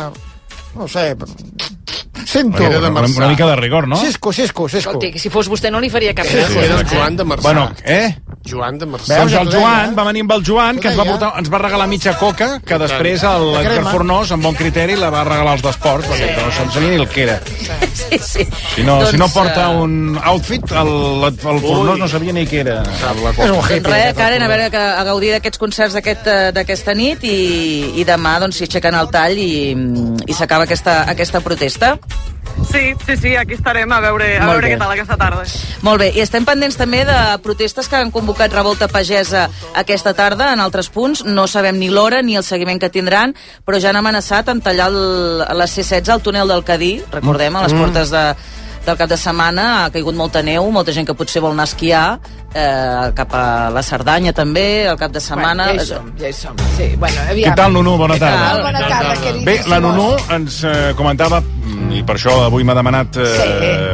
S22: no sé, sento.
S5: Una, una, una mica de rigor, no?
S22: Cisco, Cisco, Cisco.
S23: Escolti, si fos vostè no li faria cap
S5: Sí, sí.
S23: gràcia.
S5: Era Joan de Marçà. Bueno, eh?
S6: Joan de Marçà.
S5: Doncs el Joan, va venir amb el Joan, que ens va, portar, ens va regalar mitja coca, que després el
S6: La crema.
S5: Edgar Fornós, amb bon criteri, la va regalar als d'esports, perquè no se'n sabia ni el que era.
S13: (laughs) Sí, sí.
S5: Si no, si no porta
S13: eh,
S5: un outfit, el, el Fornós no sabia ni què era.
S13: Doncs
S5: eh,
S13: res, Karen, a veure que a gaudir d'aquests concerts d'aquest, eh, d'aquesta nit i, i demà doncs, s'hi aixequen el tall i, i s'acaba aquesta, aquesta protesta.
S20: Sí, sí, sí, aquí estarem a veure, a
S13: Molt
S20: veure
S13: bé.
S20: què tal aquesta tarda.
S13: Molt bé, i estem pendents també de protestes que han convocat Revolta Pagesa aquesta tarda en altres punts. No sabem ni l'hora ni el seguiment que tindran, però ja han amenaçat en tallar el, a les C-16 al túnel del Cadí, recordem, a les
S24: Mm.
S13: portes de, del cap de setmana ha caigut molta neu, molta gent que potser vol anar a esquiar eh, cap a la Cerdanya també, el cap de setmana Eh,
S23: Bueno, ja hi som, ja hi som. Sí, bueno,
S5: Què
S23: aviam.
S5: tal, Nunu? Bona tarda.
S23: Bona tarda, queridíssimos.
S5: Bé, la Nunu ens eh, comentava, mm, i per això avui m'ha demanat eh,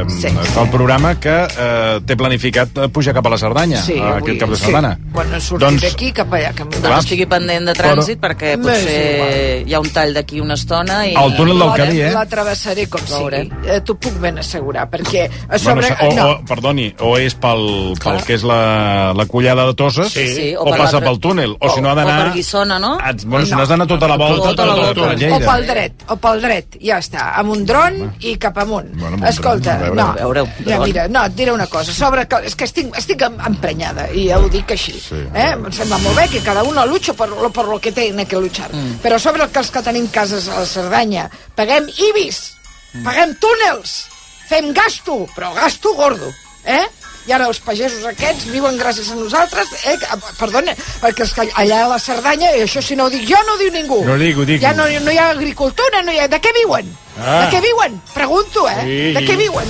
S23: Sí, sí,
S5: fa el programa, que eh, té planificat eh, pujar cap a la Cerdanya
S23: Sí,
S5: eh,
S23: avui,
S5: aquest cap de
S23: sí.
S5: setmana.
S23: Bueno, sortir
S5: Doncs-
S23: doncs... d'aquí cap allà. Que...
S13: Doncs
S5: Clar.
S13: estigui pendent de
S5: Però-
S13: trànsit perquè potser hi ha un tall d'aquí una estona i...
S5: Al túnel del Cadí, eh?
S23: La travessaré com sigui. Eh, T'ho puc ben assegurar, perquè a sobre...
S5: Bueno, o,
S23: no.
S5: o, perdoni, o és pel, pel que és la, la collada de Toses,
S13: Sí,
S5: o,
S13: per
S5: passa
S13: l'altre-
S5: pel túnel, o, si no ha
S13: O per
S5: d'anar... Ah,
S13: Guissona, no?
S5: et- Bueno, si no has d'anar tota la volta,
S13: Tota la volta.
S5: per
S23: O pel dret, o pel dret, ja està. Amb un dron endavant i cap amunt.
S5: Bueno,
S23: Bueno,
S5: veurem,
S23: Escolta,
S5: a veure,
S23: no,
S5: a veure-ho,
S23: ja,
S5: endavant.
S23: mira, no, et diré una cosa. Sobre, que- és que estic, estic em- emprenyada, i ja ho dic així. eh? Em sembla molt bé que cada uno lucha por lo, por lo que tiene que luchar.
S3: Mm.
S23: Però sobre el que els que tenim cases a la Cerdanya, paguem IBIS, Mm. paguem túnels, fem gasto, però gasto gordo, eh? I ara els pagesos aquests viuen gràcies a nosaltres, eh? que- Perdona, perquè és que allà a la Cerdanya, i això si no ho dic jo, no ho diu ningú.
S5: No ho dic, ho dic.
S23: Ja no, no hi ha agricultura, no hi ha... De què viuen?
S5: Ah.
S23: De què viuen? Pregunto, eh?
S5: Sí.
S23: De què viuen?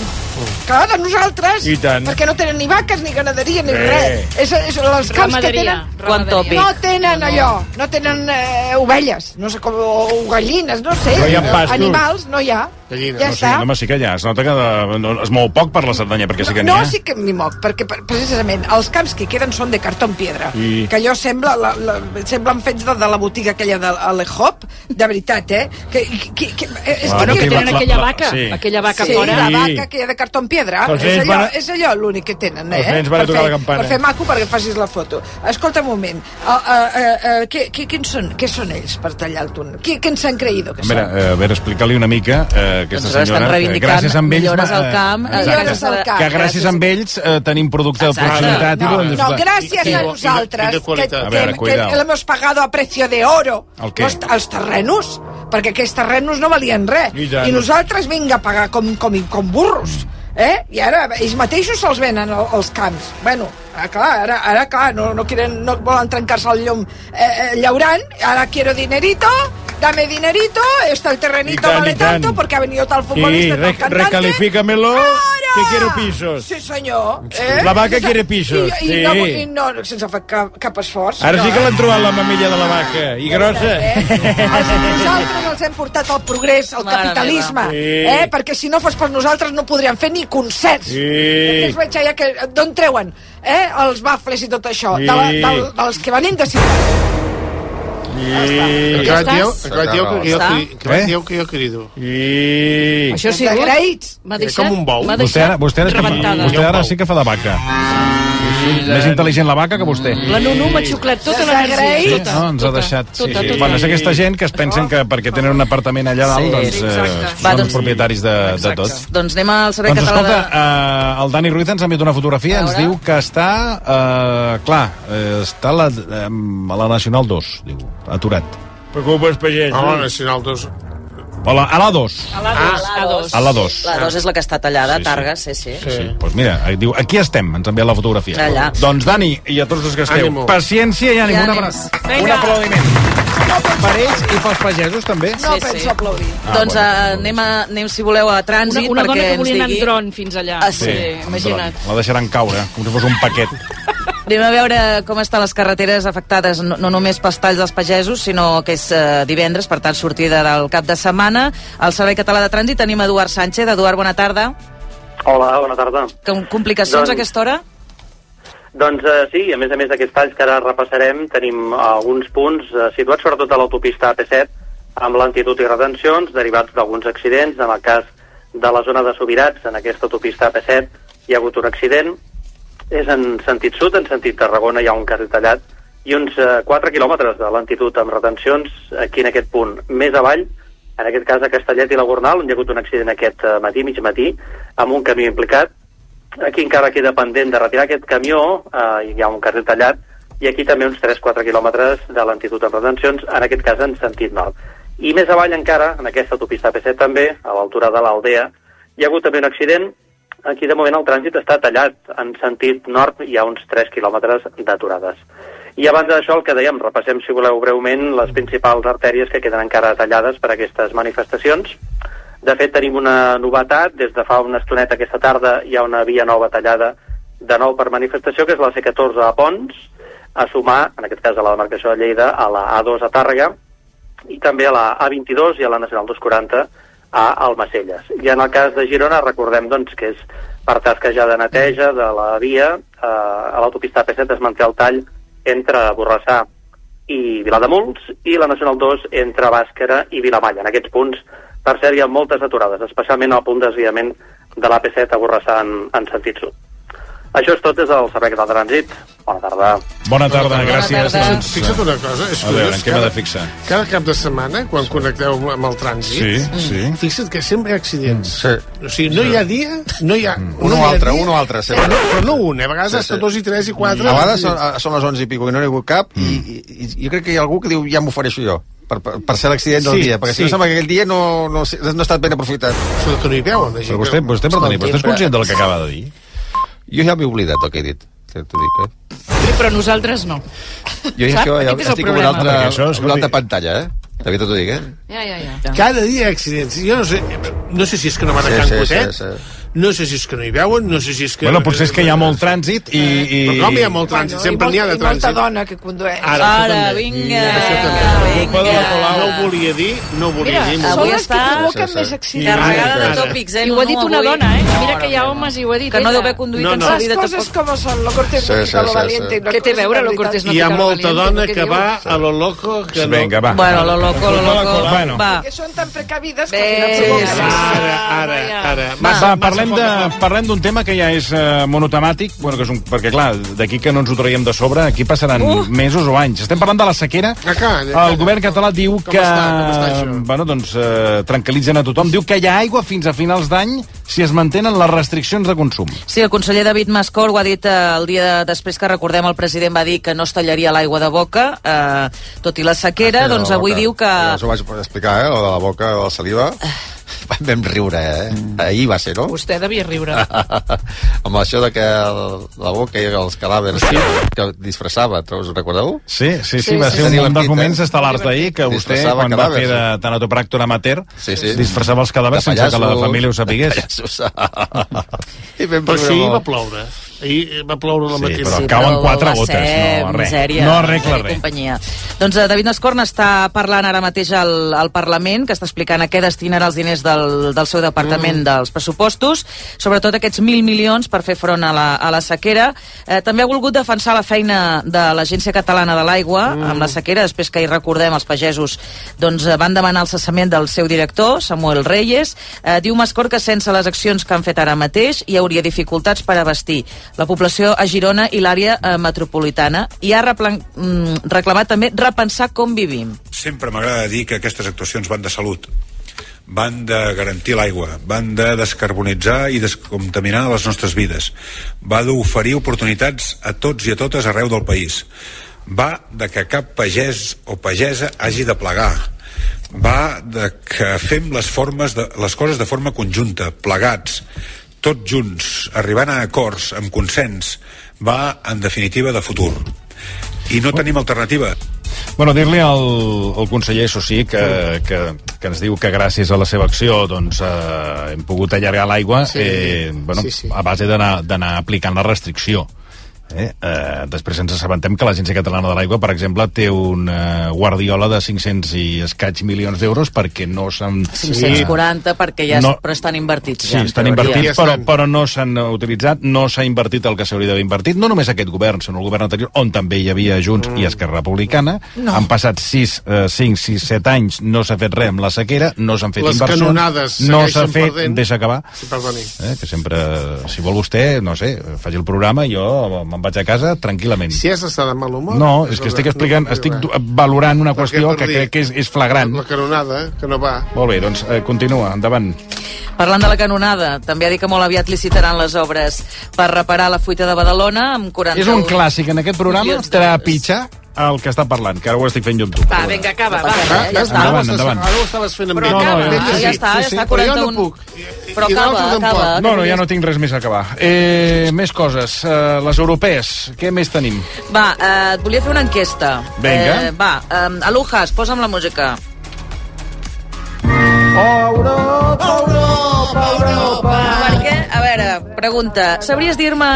S23: Clar, de nosaltres,
S5: I tant.
S23: perquè no tenen ni vaques, ni ganaderia, ni
S5: Bé.
S23: res. És, és, els camps que
S19: Ramaderia,
S23: tenen...
S19: Quanto ramaderia.
S23: No
S19: pic.
S23: tenen
S19: No.
S23: allò, no tenen eh, ovelles, no sé com, o, o gallines, no sé.
S5: No hi ha pastos.
S23: Animals, no hi ha. Gallines. Ja
S5: no, sí,
S23: està.
S5: home, sí que ja. Es nota que de, no, es mou poc per la Cerdanya, perquè sí que n'hi
S23: No,
S5: ha.
S23: sí que m'hi moc, perquè per- precisament els camps que queden són de cartó en piedra,
S5: I-
S23: que allò sembla, la, la, semblen fets de, de la botiga aquella de l'Hop, de veritat, eh? Que, que, que, eh, és
S19: Bueno,
S23: que
S19: que
S23: tenen
S19: la- la- aquella la- vaca, sí. aquella vaca
S23: sí,
S19: fora.
S23: la
S19: Sí.
S23: vaca que hi ha de cartó en piedra,
S19: Els
S23: és
S19: nens
S23: allò,
S19: van a-
S23: és allò l'únic que tenen, eh?
S5: Els nens van a
S23: Per
S5: tocar
S23: fer-
S5: la campana.
S23: Per fer maco perquè facis la foto. Escolta un moment, uh, uh, uh, uh, què, què, quins són, què són ells per tallar el túnel? Què, què ens han creïdat que
S5: A veure, eh, a veure explica-li una mica eh, aquesta
S13: Doncs ara estan
S5: senyora. que
S13: reivindicant
S5: gràcies a ells,
S13: millores
S5: va-
S13: al camp, eh,
S5: exacte,
S23: millores al camp.
S5: Que gràcies a ells eh, tenim producte de proximitat. i
S23: No,
S5: volem
S23: no,
S5: desfrutar.
S23: gràcies a nosaltres que,
S5: A veure,
S23: que, que,
S5: cuidao.
S23: que l'hemos pagado a precio de oro
S5: El què?
S23: els, els terrenos perquè aquests terrenos no valien res
S5: I
S23: i,
S5: tant.
S23: nosaltres vinga a pagar com, com, com burros eh? i ara ells mateixos se'ls venen el- els camps bueno, ara clar, ara, ara, clar no, no, quieren, no volen trencar-se el llom eh, eh, llaurant, ara quiero dinerito dame dinerito, esto el terrenito
S5: I tant,
S23: vale
S5: i tant.
S23: tanto porque ha venido tal
S5: Sí,
S23: futbolista, tal
S5: re-
S23: cantante
S5: recalifícamelo,
S23: Ara!
S5: que quiero pisos.
S23: Sí, senyor. Eh?
S5: La vaca
S23: Sí, se-
S5: quiere pisos,
S23: I, i, no,
S5: sí.
S23: i no, sense fer cap, cap esforç.
S5: Ara
S23: no,
S5: sí que
S23: eh?
S5: l'han trobat la mamella de la vaca, i grossa.
S23: Nosaltres els hem portat al progrés, al
S5: Mare
S23: capitalisme,
S5: meva. Sí.
S23: eh? perquè si no fos per nosaltres no podríem fer ni concerts.
S5: Sí.
S23: Perquè es veig allà que d'on treuen eh? els bafles i tot això,
S5: Sí.
S23: de la, del, dels que venim de ciutat.
S5: I...
S23: Ja estàs?
S5: Eh?
S8: dieu que jo crido.
S5: I...
S23: Això sí, agraïts.
S19: M'ha
S8: Com un bou.
S19: M'ha
S5: Vostè ara, vostè, ara,
S19: rebentada.
S5: vostè ara sí que fa de vaca. Més intel·ligent la vaca que vostè.
S19: La Nunu m'ha xuclat tota l'energia.
S5: Sí, no, ens ha deixat. Sí,
S19: tota,
S5: sí.
S19: tota.
S5: Bueno, és aquesta gent que es pensen que perquè tenen un apartament allà dalt,
S13: Sí,
S5: doncs,
S13: sí,
S5: eh,
S13: exacte.
S5: són
S13: Va,
S5: els
S13: doncs-
S5: propietaris de, de tot.
S13: Doncs anem al Servei
S5: Doncs
S13: Català
S5: escolta,
S13: de...
S5: eh, el Dani Ruiz ens ha enviat una fotografia, ens diu que està, eh, clar, eh, està a la, eh, a la Nacional 2, diu, aturat. Preocupes, pagès. eh?
S8: Home, Nacional 2.
S5: Hola, a la 2.
S13: A la 2. A la 2.
S5: Ah, A la dos.
S13: La 2 és la que està tallada,
S5: Sí, sí.
S13: sí, Targa, sí, sí.
S5: Sí. Doncs pues mira, eh, diu, aquí estem, ens ha enviat la fotografia.
S13: Allà.
S5: Doncs Dani, i a tots els que esteu,
S13: Ànimo.
S5: paciència i ànim,
S13: I
S5: una
S13: ànims.
S5: abraç.
S13: Vinga.
S5: Un aplaudiment. Per ells i pels pagesos, també.
S23: No penso aplaudir.
S5: Ah,
S13: doncs
S5: bueno,
S13: eh, anem, a, anem, si voleu, a trànsit
S19: Una- una
S13: perquè
S19: dona que
S13: ens
S19: volia anar en
S13: digui...
S19: dron fins allà.
S13: Ah, sí,
S5: amb
S13: imagina't.
S5: dron. La deixaran caure, com si fos un paquet.
S13: Anem a veure com estan les carreteres afectades, no, no només pels talls dels pagesos, sinó que és eh, divendres, per tant, sortida del cap de setmana. Al Servei Català de Trànsit tenim Eduard Sánchez. Eduard, bona tarda.
S24: Hola, bona tarda.
S13: Com, complicacions
S24: Doncs-
S13: a aquesta hora?
S24: Doncs eh, sí, a més a més d'aquests talls que ara repassarem, tenim alguns punts eh, situats sobretot a l'autopista AP7 amb lentitud i retencions derivats d'alguns accidents. En el cas de la zona de Subirats, en aquesta autopista AP7 hi ha hagut un accident. És en sentit sud, en sentit Tarragona hi ha un carrer tallat i uns eh, 4 quilòmetres de lentitud amb retencions aquí en aquest punt. Més avall, en aquest cas a Castellet i la Gornal, on hi ha hagut un accident aquest eh, matí, mig matí, amb un camió implicat. Aquí encara queda pendent de retirar aquest camió, eh, hi ha un carrer tallat, i aquí també uns 3-4 quilòmetres de lentitud amb retencions, en aquest cas en sentit nord. I més avall encara, en aquesta autopista P7 també, a l'altura de l'Aldea, hi ha hagut també un accident. Aquí de moment el trànsit està tallat. En sentit nord hi ha uns 3 quilòmetres d'aturades. I abans d'això el que dèiem, repassem si voleu breument les principals artèries que queden encara tallades per aquestes manifestacions. De fet, tenim una novetat. Des de fa una estoneta aquesta tarda hi ha una via nova tallada de nou per manifestació, que és la C14 a Pons, a sumar, en aquest cas a la demarcació de Lleida, a la A2 a Tàrrega i també a la A22 i a la Nacional 240 a Almacelles. I en el cas de Girona, recordem doncs, que és per tasca ja de neteja de la via, eh, a l'autopista P7 es manté el tall entre Borrassà i Vilademuls i la Nacional 2 entre Bàscara i Vilamalla. En aquests punts, per cert, hi ha moltes aturades, especialment al punt de desviament de l'AP7 a Borrassà en, en sentit sud. Això és tot des del Servei Català de Trànsit.
S25: Bona tarda.
S5: Bona tarda, gràcies. doncs.
S1: Fixa't una cosa, és
S5: A veure,
S1: curiós.
S5: en què m'he de fixar?
S1: Cada cap de setmana, quan connecteu amb- amb el trànsit,
S5: Sí, sí.
S1: fixa't que sempre hi ha accidents. O sigui, no hi ha dia, no hi ha...
S3: Un o
S1: no hi ha
S3: Mm. altre,
S1: dia-
S3: un o altre, sempre.
S1: Però no, però no un, eh? a vegades
S3: Sí, sí.
S1: hasta dos i tres i quatre...
S3: A vegades són, a- són les 11 i pico i no n'hi ha hagut cap i, i, i jo crec que hi ha algú que diu ja m'ofereixo jo per, per, per ser l'accident del
S1: Sí,
S3: dia, perquè si
S1: sí.
S3: no sembla que aquell dia no, no, sé- no ha estat ben aprofitat.
S1: Sobretot que no hi veuen, la gent.
S3: Però vostè, vostè, perdoni, vostè és
S1: Escolti,
S3: conscient del
S1: però-
S3: que acaba de dir? Jo ja m'he oblidat del que he dit. T'ho dic, eh?
S19: Però nosaltres no.
S3: Jo ja,
S19: Sap?
S3: jo, ja
S19: Aquest és el
S3: estic amb una
S19: problema.
S3: altra,
S1: Perquè
S3: això, una altra pantalla, eh? David, t'ho dic, eh?
S19: Ja, ja, ja.
S1: Cada dia hi ha accidents. Jo no sé, no sé si és que no van a
S3: Sí,
S1: Can
S3: sí,
S1: Cotet,
S3: sí,
S1: no sé si és que no hi veuen, no sé si és que...
S5: Bueno, potser és que hi ha molt trànsit i... i...
S1: Però com hi ha molt trànsit? Sempre n'hi ha de
S24: molta
S1: trànsit.
S24: dona que condueix.
S1: Ara, això Ara, també.
S24: vinga.
S1: Culpa de la Colau. No ho volia dir, no ho volia
S24: Mira,
S1: dir.
S24: avui
S1: Són les
S24: està-
S1: que provoquen
S24: Sí, sí, sí.
S1: més accidents.
S24: Carregada
S1: Ara.
S19: I ho ha dit una dona, eh? Mira que hi ha homes i ho ha dit
S13: Que no
S19: ella.
S13: deu haver conduït
S1: No, en no. sa vida
S24: Les coses com són, lo cortés no
S1: Sí,
S24: pica
S1: sí,
S24: lo
S1: sí,
S24: valiente.
S1: sí.
S24: una
S19: Què té a
S24: cosa
S19: veure
S24: de
S19: lo
S24: veritat.
S19: cortés no
S1: Hi ha
S19: pica lo
S1: molta
S19: valiente,
S1: dona
S19: el que
S1: que
S19: diu.
S1: va a lo loco que no...
S5: Doncs Vinga, va.
S13: Bueno, lo loco,
S5: Culpa
S13: lo
S5: de la
S13: loco.
S5: Colau. Bueno.
S13: Va.
S24: Que són tan precavides que...
S13: Bé,
S24: al final
S13: sí,
S24: provoquen.
S1: Ara, ara.
S5: Va, va, parlem de- parlem d'un tema que ja és eh, monotemàtic, bueno, que és un, perquè clar, d'aquí que no ens ho traiem de sobre, aquí passaran
S1: Uh!
S5: mesos o anys. Estem parlant de la sequera.
S1: Ah,
S5: El govern català diu que...
S1: està? Com està això?
S5: bueno, doncs, eh, tranquil·litzen a tothom. Diu que hi ha aigua fins a finals d'any si es mantenen les restriccions de consum.
S13: Sí, el conseller David Mascor ho ha dit eh, el dia de, després que recordem el president va dir que no es tallaria l'aigua de boca, eh, tot i la sequera, doncs avui diu que...
S3: Ja us ho vaig explicar, eh? Lo de la boca, de la
S13: (sighs)
S3: saliva. Vam riure, eh?
S13: Mm.
S3: Ahir va ser, no?
S19: Vostè devia riure.
S3: (laughs) amb això de que el, la boca i els cadàvers sí. que disfressava, tro- us recordeu?
S5: Sí, sí, sí, va ser un, un dels moments estel·lars d'ahir que vostè, quan va fer de tanatopràctor amateur,
S3: Sí, sí.
S5: disfressava els cadàvers
S3: De
S5: sense que la
S3: pallassos,
S5: família ho sapigués.
S3: (laughs) I ben
S1: Però si ahir va
S3: molt.
S1: ploure. Ahir va ploure la
S5: Sí,
S1: matina.
S5: però cauen quatre gotes, no res.
S13: eh, Misèria,
S5: No arregla
S13: misèria i
S5: res.
S13: Companyia. Doncs eh, David Mascor està parlant ara mateix al, al Parlament, que està explicant a què destinarà els diners del, del seu departament mm. dels pressupostos, sobretot aquests mil milions per fer front a la, a la sequera. Eh, també ha volgut defensar la feina de l'Agència Catalana de l'Aigua mm. amb la sequera, després que hi recordem els pagesos doncs, eh, van demanar el cessament del seu director, Samuel Reyes. Eh, diu Mascor que sense les accions que han fet ara mateix hi hauria dificultats per abastir la població a Girona i l'àrea eh, metropolitana i ha replan- mm, reclamat també repensar com vivim.
S9: Sempre m'agrada dir que aquestes actuacions van de salut, van de garantir l'aigua, van de descarbonitzar i descontaminar les nostres vides, va d'oferir oportunitats a tots i a totes arreu del país, va de que cap pagès o pagesa hagi de plegar, va de que fem les, formes de, les coses de forma conjunta, plegats, tots junts, arribant a acords, amb consens, va, en definitiva, de futur. I no tenim alternativa.
S5: Bueno, dir-li al, al conseller, això sí, que, que, que ens diu que gràcies a la seva acció doncs, eh, hem pogut allargar l'aigua
S1: Sí.
S5: eh, bueno,
S1: Sí, sí.
S5: a base d'anar d'anar aplicant la restricció. Eh? Eh, després ens assabentem que l'Agència Catalana de l'Aigua, per exemple, té una guardiola de 500 i escaig milions d'euros perquè no s'han...
S13: 540 perquè ja
S5: No.
S13: no. però estan invertits.
S5: Sí,
S13: ja, en
S5: estan
S13: teoria.
S5: invertits, però, però no s'han eh, utilitzat, no s'ha invertit el que s'hauria d'haver invertit, no només aquest govern, sinó el govern anterior, on també hi havia Junts mm. i Esquerra Republicana.
S1: No.
S5: Han passat 6, eh, 5, 6, 7 anys, no s'ha fet res amb la sequera, no s'han fet
S1: Les
S5: inversions.
S1: canonades
S5: no
S1: segueixen
S5: s'ha fet,
S1: perdent.
S5: deixa acabar.
S1: Sí, perdoni.
S5: Eh, que sempre, si vol vostè, no sé, faci el programa, jo me'n vaig a casa tranquil·lament.
S1: Si has d'estar de mal humor...
S5: No, és que estic explicant, estic du- valorant una qüestió que
S1: perdi.
S5: crec que és, és flagrant.
S1: La canonada, eh, que no va.
S5: Molt bé, doncs eh, continua, endavant.
S13: Parlant de la canonada, també ha dit que molt aviat licitaran les obres per reparar la fuita de Badalona amb 41...
S5: És un clàssic en aquest programa,
S13: milions
S5: trepitjar el que està parlant, que ara ho estic fent jo amb tu.
S19: Va, vinga, acaba, va.
S5: res, ja està. Endavant, endavant.
S1: Ara ho estaves fent amb
S19: Però
S1: mi.
S19: acaba,
S1: Ben
S19: ja
S1: llegit.
S19: està, ja
S1: Sí, sí,
S19: està,
S1: però jo
S19: 41.
S1: no puc.
S19: Però
S1: I
S19: acaba,
S1: l'altre tampoc.
S19: acaba.
S5: No, no, ja no tinc res més a acabar. Eh, més coses. Eh, les europees, què més tenim?
S13: Va, eh, et volia fer una enquesta.
S5: Vinga.
S13: Eh, va, eh, Alujas, posa'm la música.
S26: Europa, Europa, Europa.
S13: Perquè, a veure, pregunta, sabries dir-me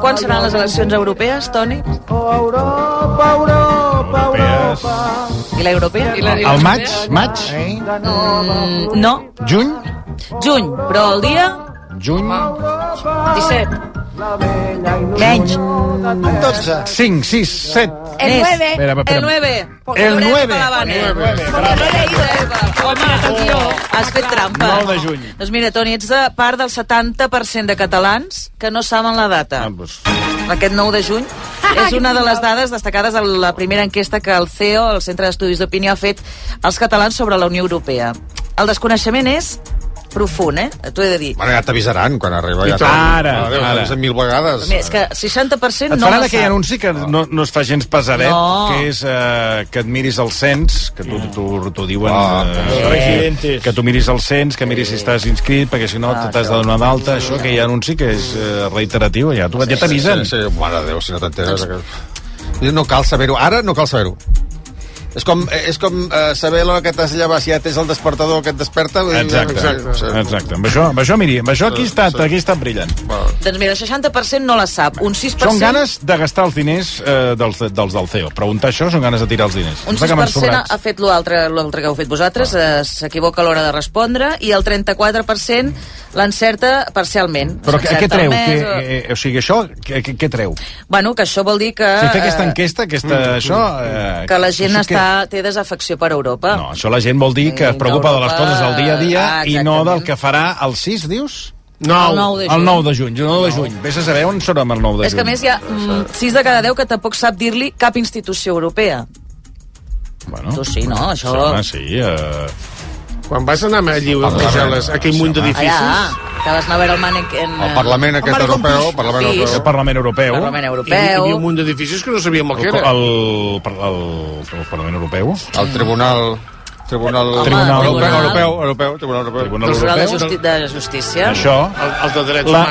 S13: quan seran les eleccions europees, Toni? Europa, Europa, Europa. I la europea? I la
S5: Al maig? Maig?
S13: Mm, no.
S5: Juny?
S13: Juny, però el dia?
S5: Juny?
S13: 17. Menys.
S5: 12. 5, 6, 7.
S13: El
S5: Més.
S13: nueve.
S5: Espera, espera.
S13: El nueve.
S5: El 9.
S13: El 9. Has fet trampa.
S5: 9 de juny.
S13: Doncs mira, Toni, ets de part del 70% de catalans que no saben la data.
S5: Ah, doncs.
S13: (laughs) Aquest 9 de juny És una de les dades destacades de la primera enquesta que el CEO, el Centre d'Estudis d'Opinió, ha fet als catalans sobre la Unió Europea. El desconeixement és profund, eh? T'ho he de dir.
S3: Bueno, ja t'avisaran quan arriba.
S5: I
S3: Ja
S5: tant, ara,
S3: Adéu,
S5: ara.
S3: t'avisen mil vegades.
S13: Bé, és que
S5: Et
S13: 60% no
S5: faran
S13: la
S5: aquell
S13: sap.
S5: anunci que no, no es fa gens pesadet,
S13: No.
S5: que és eh, que et miris el cens, que tu, tu, tu diuen...
S3: Ah,
S5: eh,
S22: residentes.
S5: que tu miris el cens, que miris si estàs inscrit, perquè si no
S22: Ah,
S5: t'has de donar d'alta, això, que hi ha anunci que és eh, reiteratiu, ja, tu, ja t'avisen.
S3: Sí, sí, sí, mare de Déu, si no t'enteres. que- No cal saber-ho, ara no cal saber-ho. És com, és com eh, saber l'hora que t'has de llevar, si ja tens el despertador que et desperta... vull dir,
S5: Exacte,
S3: sí.
S5: exacte. Amb això, amb això, miri, amb això aquí està, aquí està brillant.
S13: Doncs mira, el 60% no la sap. Un 6%...
S5: Són ganes de gastar els diners eh, dels, dels del CEO. Preguntar això són ganes de tirar els diners.
S13: Un
S5: Em sembla que m'han
S13: 6%
S5: sobrat.
S13: ha fet l'altre l'altre que heu fet
S5: Ah.
S13: vosaltres, eh, s'equivoca a l'hora de respondre, i el 34% l'encerta parcialment.
S5: Però què, què
S13: S'encerta
S5: treu?
S13: el
S5: Mes,
S13: mes
S5: que, eh, eh, o sigui, això, què, què, què treu?
S13: o... Bueno, que això vol dir que...
S5: Ah, si fer aquesta
S13: eh, mm,
S5: enquesta, aquesta, això... Eh,
S13: que la gent
S5: això
S13: està, té desafecció per Europa.
S5: Que, això la gent vol dir que es preocupa de les
S13: Europa,
S5: coses del dia a dia
S13: ah,
S5: i no del que farà el 6, dius?
S13: Nou. El nou de juny.
S5: El 9 de juny. El 9 de juny. Vés a saber on són amb el 9 de
S13: És que a
S5: juny.
S13: més hi ha mm, 6 de cada 10 que tampoc sap dir-li cap institució europea.
S5: Bueno,
S13: tu sí, no? Això...
S5: Sí, home, sí. Eh...
S1: Quan vas anar a lliure a Brussel·les, aquell munt
S13: Allà,
S1: d'edificis...
S13: Ah, que vas anar a veure el eh, mànec en...
S1: El Parlament aquest Home, europeu, el Parlament Sí. europeu.
S5: El Parlament Europeu.
S13: Parlament
S1: Hi, hi havia
S13: Europeu.
S1: un munt d'edificis que no sabíem el que
S5: El,
S1: era.
S5: el, el, el Parlament Europeu.
S3: El Tribunal... Tribunal,
S5: Home, Tribunal
S3: Europeu,
S5: Tribunal.
S3: Europeu, Europeu, Tribunal Europeu.
S5: Tribunal Tribunal
S13: de, justi de Justícia.
S5: Això. la,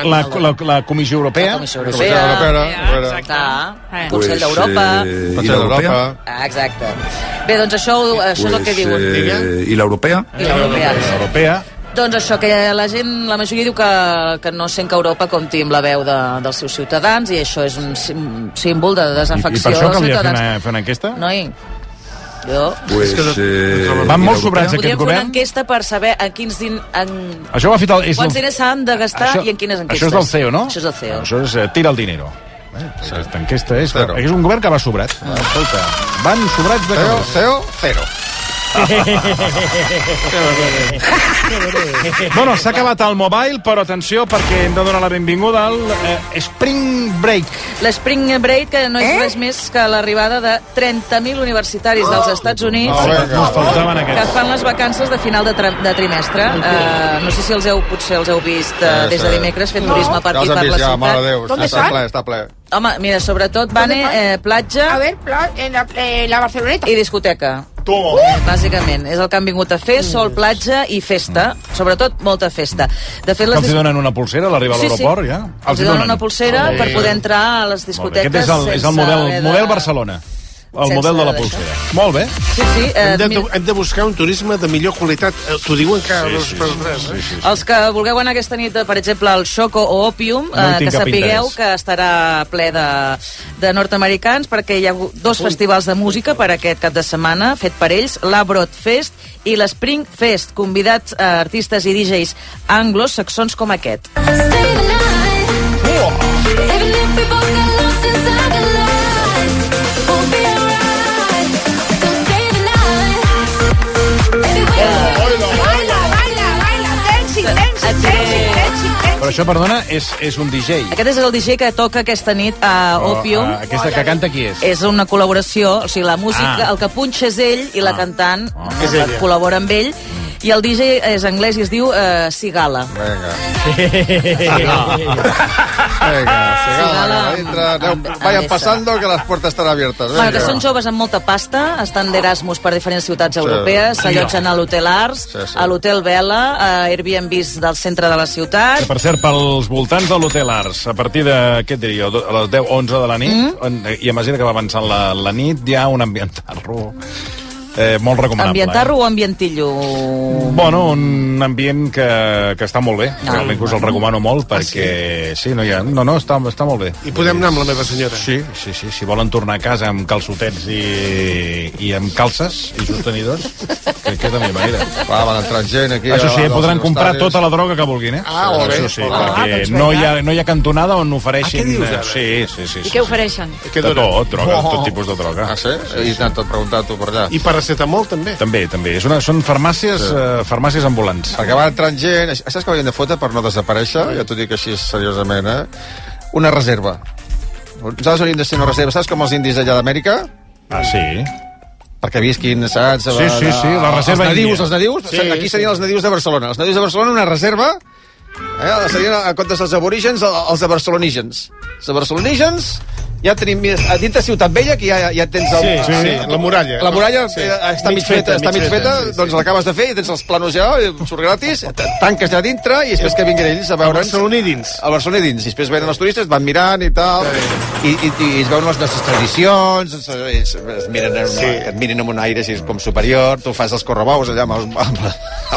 S5: la,
S1: (laughs)
S5: la, la Comissió Europea.
S13: La Comissió Europea. ah, Exacte. Eh. Consell d'Europa.
S9: eh, Consell d'Europa.
S13: Ah, exacte. Bé, doncs això, ho- això és el que diuen.
S9: Eh, I l'europea?
S13: I l'europea.
S5: Europea.
S13: Doncs això, que la gent, la majoria diu que, que no sent que Europa compti amb la veu de, dels seus ciutadans i això és un sim- símbol de
S5: I, I
S13: desafecció
S5: per això calia
S13: dels
S5: fer una,
S13: ciutadans.
S5: fer una enquesta?
S13: Noi, jo...
S9: Pues, eh,
S5: Van
S9: i l'europea?
S5: molt sobrats aquest
S13: Podríem fer una
S5: govern.
S13: enquesta per saber a quins din... En...
S5: Això ho ha fet el- és
S13: Quants
S5: el-
S13: diners s'han de gastar
S5: Això-
S13: i en quines enquestes.
S5: Això és del CEO, no?
S13: Això és E del CEO.
S5: Això és eh, tira el dinero. Eh? Aquesta enquesta és...
S3: Zero.
S5: És un govern que va sobrat. Escolta, van sobrats de
S3: Cero,
S5: calés.
S3: cero, cero.
S5: (laughs) Bueno, s'ha acabat el mobile, però atenció, perquè hem de donar la benvinguda al eh, Spring Break.
S13: L'Spring Break, que no és eh? res més que l'arribada de 30.000 universitaris dels
S3: Oh!
S13: Estats Units
S5: Ah, vinga. Ens faltaven
S13: que
S5: aquests.
S13: fan les vacances de final de, tra- de trimestre. Uh, no sé si els heu, potser els heu vist uh,
S3: Sí,
S13: des de
S3: sí.
S13: dimecres fent
S3: No.
S13: turisme per
S3: Ja els
S13: aquí,
S3: han
S13: per
S3: vist,
S13: la
S3: ja,
S13: ciutat.
S3: mare de Déu, està- està ple, està ple.
S13: Home, mira, sobretot, Vane, eh, platja... A ver, en la, eh, la Barceloneta. I discoteca. Toma. Bàsicament, és el que han vingut a fer, sol, platja i festa. Sobretot, molta festa. De fet,
S5: Que
S13: les...
S5: els hi donen una pulsera a l'arribar a l'aeroport, ja?
S13: Els hi donen una pulsera
S5: Sí.
S13: per poder entrar a les
S5: eh, Molt bé,
S13: discoteques
S5: Aquest és el, és el model,
S13: sense haver de-
S5: model Barcelona. El
S13: sense
S5: model de la
S13: haver d'això.
S5: pulsera. Molt bé.
S13: Sí, sí. Eh,
S1: Hem de,
S13: mil-
S1: hem de buscar un turisme de millor qualitat. Eh, T'ho diuen cada dos per tres, eh?
S13: Els que vulgueu anar aquesta nit, eh, per exemple, al Xoco o Opium,
S1: No hi
S13: eh,
S1: tinc
S13: que
S1: cap
S13: sapigueu
S1: interès.
S13: que estarà ple de, de nord-americans perquè hi ha hagut dos festivals de música per aquest cap de setmana, fet per ells, l'Abrot Fest i l'Spring Fest, convidats eh, artistes i DJs anglosaxons com aquest.
S5: Però això, perdona, és, és un DJ.
S13: Aquest és el DJ que toca aquesta nit a
S5: Però,
S13: Opium.
S5: eh, aquesta que canta qui és?
S13: És una col·laboració, o sigui, la música,
S5: Ah.
S13: el que punxa és ell i la cantant
S5: És
S13: eh,
S5: ella. Mm.
S13: col·labora amb ell. I el DJ és anglès i es diu eh, Sigala.
S3: Vinga.
S13: Vinga,
S3: Sigala, entra, aneu, vayan pasando que las puertas están abiertas.
S13: Bueno, que
S3: Vinga.
S13: són joves amb molta pasta, estan d'Erasmus per diferents ciutats
S3: Sí.
S13: europees, s'allotgen a l'Hotel Arts,
S5: Sí, sí.
S13: a l'Hotel Vela, a Airbnbs del centre de la ciutat.
S5: Que, per cert, pels voltants de l'Hotel Arts, a partir de, què et diria, jo, a les 10, 11 de la nit,
S13: Mm.
S5: on, i a mesura que va avançant la, la nit, hi ha un (laughs) ambientarro eh, molt recomanable.
S13: Ambientarro o ambientillo?
S5: Eh? Bueno, un ambient que, que està molt bé.
S13: Ah.
S5: Realment que us el recomano molt perquè... sí? no, hi ha, no, no, està, està molt bé.
S1: I podem anar amb la meva senyora.
S5: Sí, sí, sí. Si volen tornar a casa amb calçotets i, i amb calces i sostenidors, crec que és la meva manera.
S3: Va, van entrar gent aquí.
S5: Això sí,
S3: davant dels
S5: podran comprar
S3: universitaris.
S5: tota la droga que vulguin, eh?
S3: Ah, molt bé.
S5: Això sí,
S3: Ah,
S5: perquè
S3: doncs
S5: no,
S3: vinga.
S5: hi ha, no hi ha cantonada on ofereixin...
S3: Ah, què dius, ara?
S5: Sí, sí, sí.
S4: I
S5: sí.
S4: què ofereixen?
S5: De tot, droga,
S1: Oh.
S5: tot tipus de droga. Ah, sí?
S3: I t'han tot preguntat tu per allà.
S1: I paracetamol, també.
S5: També, també. És una, són farmàcies,
S3: Sí.
S5: sí. uh, farmàcies ambulants.
S3: Perquè van entrant gent... això- Saps que haurien de fotre per no desaparèixer? Ja t'ho dic així seriosament, eh? Una reserva. Nosaltres hauríem de ser una reserva. Saps com els indis allà d'Amèrica?
S5: Ah, sí?
S3: Perquè visquin, saps?
S5: Sí, sí, sí, la reserva
S3: Els nadius,
S5: índia.
S3: els nadius.
S5: Sí,
S3: Sí, aquí
S5: sí.
S3: serien els nadius de Barcelona. Els nadius de Barcelona, una reserva, eh, serien, en comptes dels aborígens, el- els de barcelonígens. Els de barcelonígens, ja tenim... més- A dintre Ciutat Vella, que ja, ja tens... El,
S1: Sí, sí, la muralla.
S3: La muralla
S1: Sí.
S3: sí. està mig,
S1: Mig feta,
S3: feta, està
S1: mig
S3: mig
S1: feta,
S3: feta,
S1: sí, sí.
S3: doncs l'acabes de fer i tens els planos ja, i surt
S1: (laughs)
S3: gratis, te- tanques allà dintre i després que vinguin ells a veure'ns... El barceloní dins. El barceloní dins. I després venen els turistes, van mirant i tal, i, i, i es veuen les nostres tradicions, es, es, es miren, en, sí. et miren amb un aire així com superior, tu fas els correbous allà amb, el, amb,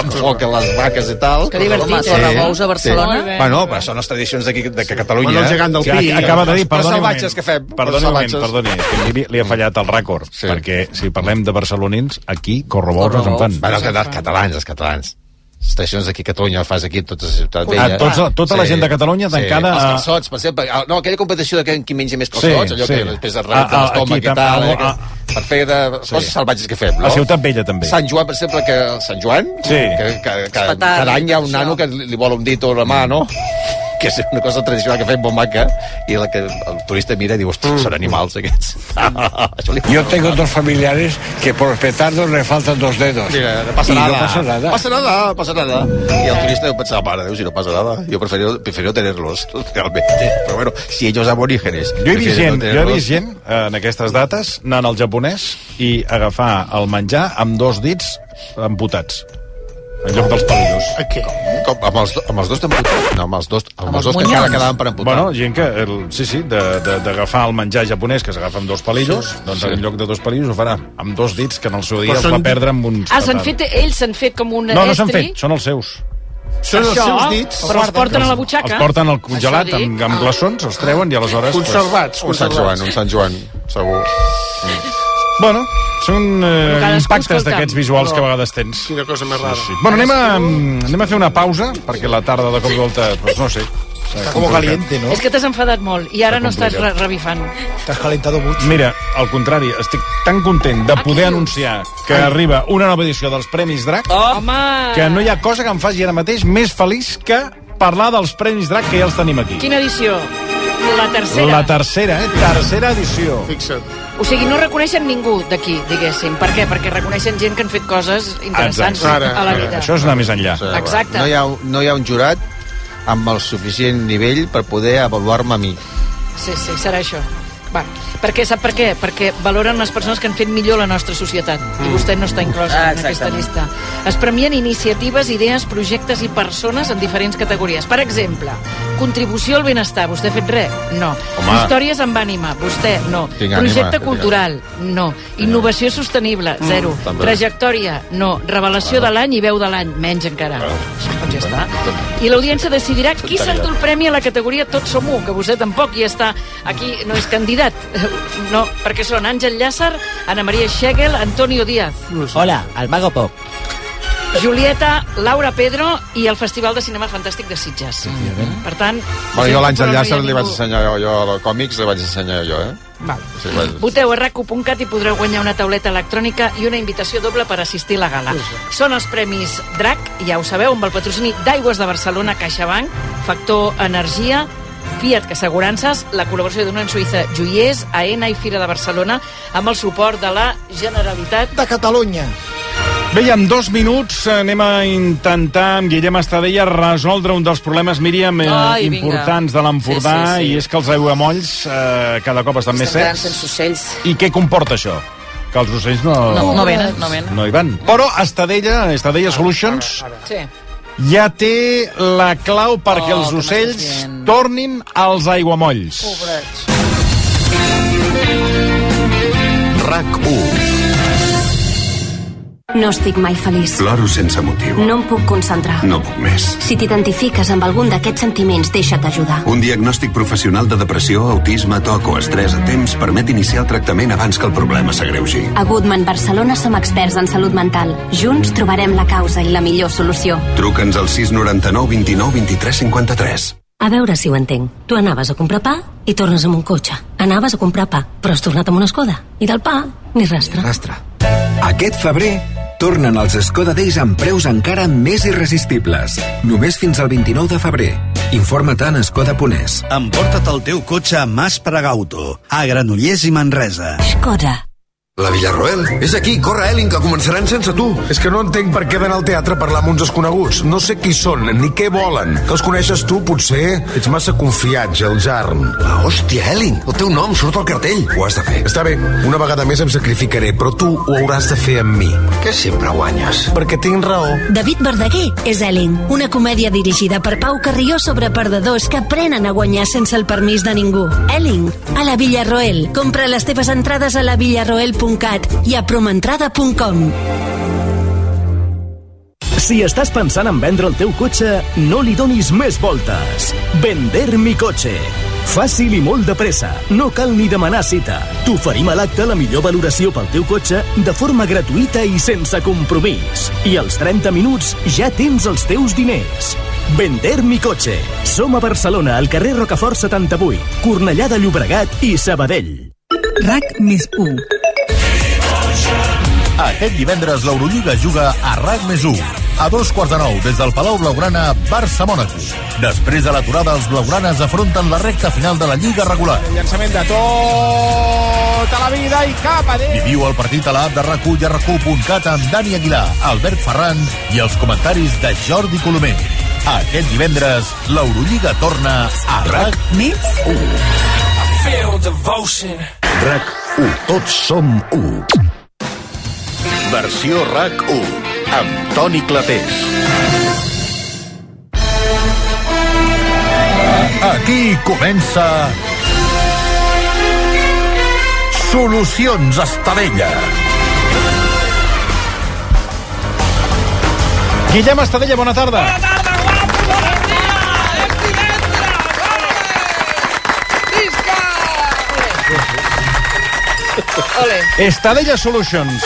S3: amb foc a les vaques i tal.
S13: Que divertit,
S3: Home, sí,
S13: correbous a Barcelona. Molt bé.
S3: Bueno, però són les tradicions d'aquí, de Catalunya. eh?
S5: Bueno, el gegant del Pi. eh? Acaba de
S3: Els- els
S5: dir, perdoni un moment.
S3: salvatges que fem.
S5: Perdoni
S3: els
S5: un moment,
S3: salvatges.
S5: perdoni. és que Li, li ha fallat el rècord, sí. perquè si parlem de barcelonins, aquí correbous no se'n fan.
S3: Bueno, els catalans, els catalans. Les estacions d'aquí a Catalunya fas aquí, totes les ciutats
S5: Ah, tots- tota la gent de Catalunya
S3: Sí.
S5: tancada a-
S3: Els calçots, per exemple. Ah, No, aquella competició de que- qui menja més calçots,
S5: Sí,
S3: allò
S5: sí.
S3: que després es rebenta
S5: Ah, ah,
S3: l'estómac i
S5: aquí
S3: tal.
S5: també,
S3: eh,
S5: ah.
S3: que- per fer de coses salvatges que fem, no?
S5: A Ciutat Vella, també.
S3: Sant Joan, per exemple, que el Sant Joan,
S5: Sí.
S3: que, que, que cada any hi ha un nano que li, li vola un dit o la mà, no?
S5: Mm.
S3: que és una cosa tradicional que fem molt maca i la que el turista mira i diu, hosti, són
S5: Mm.
S3: animals aquests.
S5: (laughs) Ah,
S3: Això li fa
S2: Yo
S3: molt
S2: tengo
S3: mal.
S2: dos familiares que por los petardos le faltan dos dedos.
S3: Mira, no pasa
S2: y
S3: nada.
S2: no pasa nada.
S3: Pasa nada, pasa nada. Y el turista deu pensar, mare de Déu, si no pasa nada. Yo prefiero, prefiero tenerlos, realmente. Pero bueno, si ellos aborígenes...
S5: Jo he vist
S3: prefieren no
S5: gent, jo he
S3: tenerlos.
S5: vist gent eh, en aquestes dates anant al japonès i agafar el menjar amb dos dits amputats en lloc dels palillos.
S3: Aquí. Com, amb, els, do- amb els dos d'amputat? No, amb els dos, amb,
S5: Amb
S3: els dos que encara quedaven per amputar.
S5: Bueno, gent que, el, sí, sí, de- de- d'agafar el menjar japonès que s'agafa amb dos palillos,
S3: Sí.
S5: doncs
S3: Sí.
S5: en lloc de dos palillos ho farà amb dos dits, que en el seu dia
S19: Però
S5: els va
S19: són-
S5: perdre amb uns...
S19: Ah, s'han fet, ells s'han fet com un
S5: No, no s'han
S19: estri.
S5: fet, són els seus.
S19: Són els Això, seus dits. però els porten a la butxaca.
S5: Els porten al congelat,
S19: Això dic.
S5: amb,
S19: Ah.
S5: amb glaçons, els treuen i aleshores... doncs,
S1: Conservats,
S3: Un Sant Joan, un Sant Joan, segur.
S5: Bueno, són
S1: Però
S5: eh,
S1: cadascú,
S5: impactes
S1: escolta'm,
S5: d'aquests visuals
S1: però-
S5: que a vegades tens.
S1: Quina cosa més rara.
S5: Sí. Bueno, anem a, anem a fer una pausa, perquè la tarda de cop i volta, doncs no sé... Està
S22: como caliente,
S19: No? És que t'has enfadat molt i ara no estàs re
S5: complicat.
S19: revifant.
S5: T'has calentado mucho. Mira, al contrari, estic tan content de poder anunciar que Ai. arriba una nova edició dels Premis Drac
S19: Oh. Home!
S5: que no hi ha cosa que em faci ara mateix més feliç que parlar dels Premis Drac que ja els tenim aquí.
S19: Quina edició? La tercera.
S5: La tercera, eh? Tercera edició. Fixa't.
S19: O sigui, no reconeixen ningú d'aquí, diguéssim. Per què? Perquè reconeixen gent que han fet coses interessants a la vida.
S5: Això és anar més enllà.
S3: Sí,
S19: Exacte.
S3: No hi, ha, un- no hi ha un jurat amb el suficient nivell per poder avaluar-me a mi.
S19: Sí, sí, serà això. Va, perquè sap per què? Perquè valoren les persones que han fet millor la nostra societat i
S13: Mm.
S19: vostè no està inclòs
S13: Ah,
S19: en aquesta
S13: exactament.
S19: llista. Es premien iniciatives, idees, projectes i persones en diferents categories. Per exemple, contribució al benestar. Vostè ha fet res? No.
S13: Home.
S19: Històries amb ànima. Vostè? No.
S13: Tinc ànima,
S19: Projecte
S13: que tinc
S19: cultural? No. Innovació sostenible?
S13: Mm,
S19: Zero.
S13: també.
S19: Trajectòria? No. Revelació de l'any i veu de l'any? Menys encara. Doncs ja està. I l'audiència decidirà qui s'endú el premi a la categoria Tots som un, que vostè tampoc hi està. Aquí no és candidat. (laughs) No, perquè són Àngel Llàcer, Ana Maria Schegel, Antonio Díaz,
S8: Hola, al Mago Pop.
S19: Julieta, Laura Pedro i el Festival de Cinema Fantàstic de Sitges. Per tant...
S3: Bueno, jo a l'Àngel
S19: però no hi ha
S3: Llàcer li vaig
S19: ningú.
S3: ensenyar jo, jo a còmics li vaig ensenyar jo, eh?
S19: Val.
S3: Sí, vaig...
S19: Voteu a racu.cat i podreu guanyar una tauleta electrònica i una invitació doble per assistir a la gala. Són els Premis DRAC, ja ho sabeu, amb el patrocini d'Aigües de Barcelona, CaixaBank, Factor Energia, Fiat Assegurances, la col·laboració d'Unió Suïssa Joiers, AENA i Fira de Barcelona, amb el suport de la Generalitat de Catalunya.
S5: Bé, i en dos minuts eh, anem a intentar amb Guillem Estadella resoldre un dels problemes, Míriam, eh,
S13: Ai, vinga.
S5: importants de l'Empordà,
S13: Sí, sí, sí.
S5: i és que els aiguamolls eh, cada cop estan més
S13: Estan quedant
S5: secs.
S13: sense ocells.
S5: I què comporta això? Que els ocells no...
S13: No, no venen, no venen.
S5: No hi van. Però Estadella, Estadella Solutions,
S13: Sí.
S5: ja té la clau perquè
S13: Oh,
S5: els
S13: que m'estàs
S5: ocells tornin als aiguamolls.
S13: Pobrets.
S9: RAC 1.
S16: (laughs) No estic mai feliç.
S9: Ploro sense motiu.
S16: No em puc concentrar.
S9: No puc més.
S16: Si t'identifiques amb algun d'aquests sentiments, deixa't ajudar.
S9: Un diagnòstic professional de depressió, autisme, toc o estrès a temps permet iniciar el tractament abans que el problema s'agreugi.
S16: A Goodman Barcelona som experts en salut mental. Junts trobarem la causa i la millor solució.
S9: Truca'ns al 699 29 23 53.
S16: A veure si ho entenc. Tu anaves a comprar pa i tornes amb un cotxe. Anaves a comprar pa, però has tornat amb una escoda. I del pa, ni rastre.
S27: rastre. Aquest febrer tornen els Skoda Days amb preus encara més irresistibles. Només fins al 29 de febrer. Informa-te'n a Skoda Ponés.
S8: Emporta't el teu cotxe a Mas Pregauto, a Granollers i Manresa.
S16: Skoda.
S8: La Villarroel?
S10: És aquí, corre, Elin, que començaran sense tu. És que no entenc per què d'anar al teatre a parlar amb uns desconeguts. No sé qui són, ni què volen. Que els coneixes tu, potser? Ets massa confiat, Geljarn. Ah, hòstia, Elin, el teu nom surt al cartell. Ho has de fer. Està bé, una vegada més em sacrificaré, però tu ho hauràs de fer amb mi. Que sempre guanyes. Perquè tinc raó.
S16: David Verdaguer és Ellen, una comèdia dirigida per Pau Carrió sobre perdedors que aprenen a guanyar sense el permís de ningú. Ellen, a la Villarroel. Compra les teves entrades a lavillarroel.cat i a promentrada.com.
S12: Si estàs pensant en vendre el teu cotxe, no li donis més voltes. Vender mi cotxe. Fàcil i molt de pressa. No cal ni demanar cita. T'oferim a l'acte la millor valoració pel teu cotxe de forma gratuïta i sense compromís. I als 30 minuts ja tens els teus diners. Vender mi cotxe. Som a Barcelona, al carrer Rocafort 78, Cornellà de Llobregat i Sabadell. RAC més 1.
S15: Aquest divendres l'Eurolliga juga a RAC més 1. A dos quarts de nou, des del Palau Blaugrana, Barça-Mònaco. Després de l'aturada, els blaugranes afronten la recta final de la Lliga regular.
S17: llançament de tota la vida i cap a Déu.
S15: Viviu el partit a l'app de rac i a rac amb Dani Aguilar, Albert Ferran i els comentaris de Jordi Colomer. Aquest divendres, l'Eurolliga torna a RAC més 1.
S27: Feel devotion.
S15: RAC 1. Tots som 1. Versió RAC 1. Amb Toni Clapés. Aquí comença... Solucions Estadella.
S3: Guillem Estadella, bona tarda. Bona tarda.
S19: Ole.
S5: Estadella Solutions.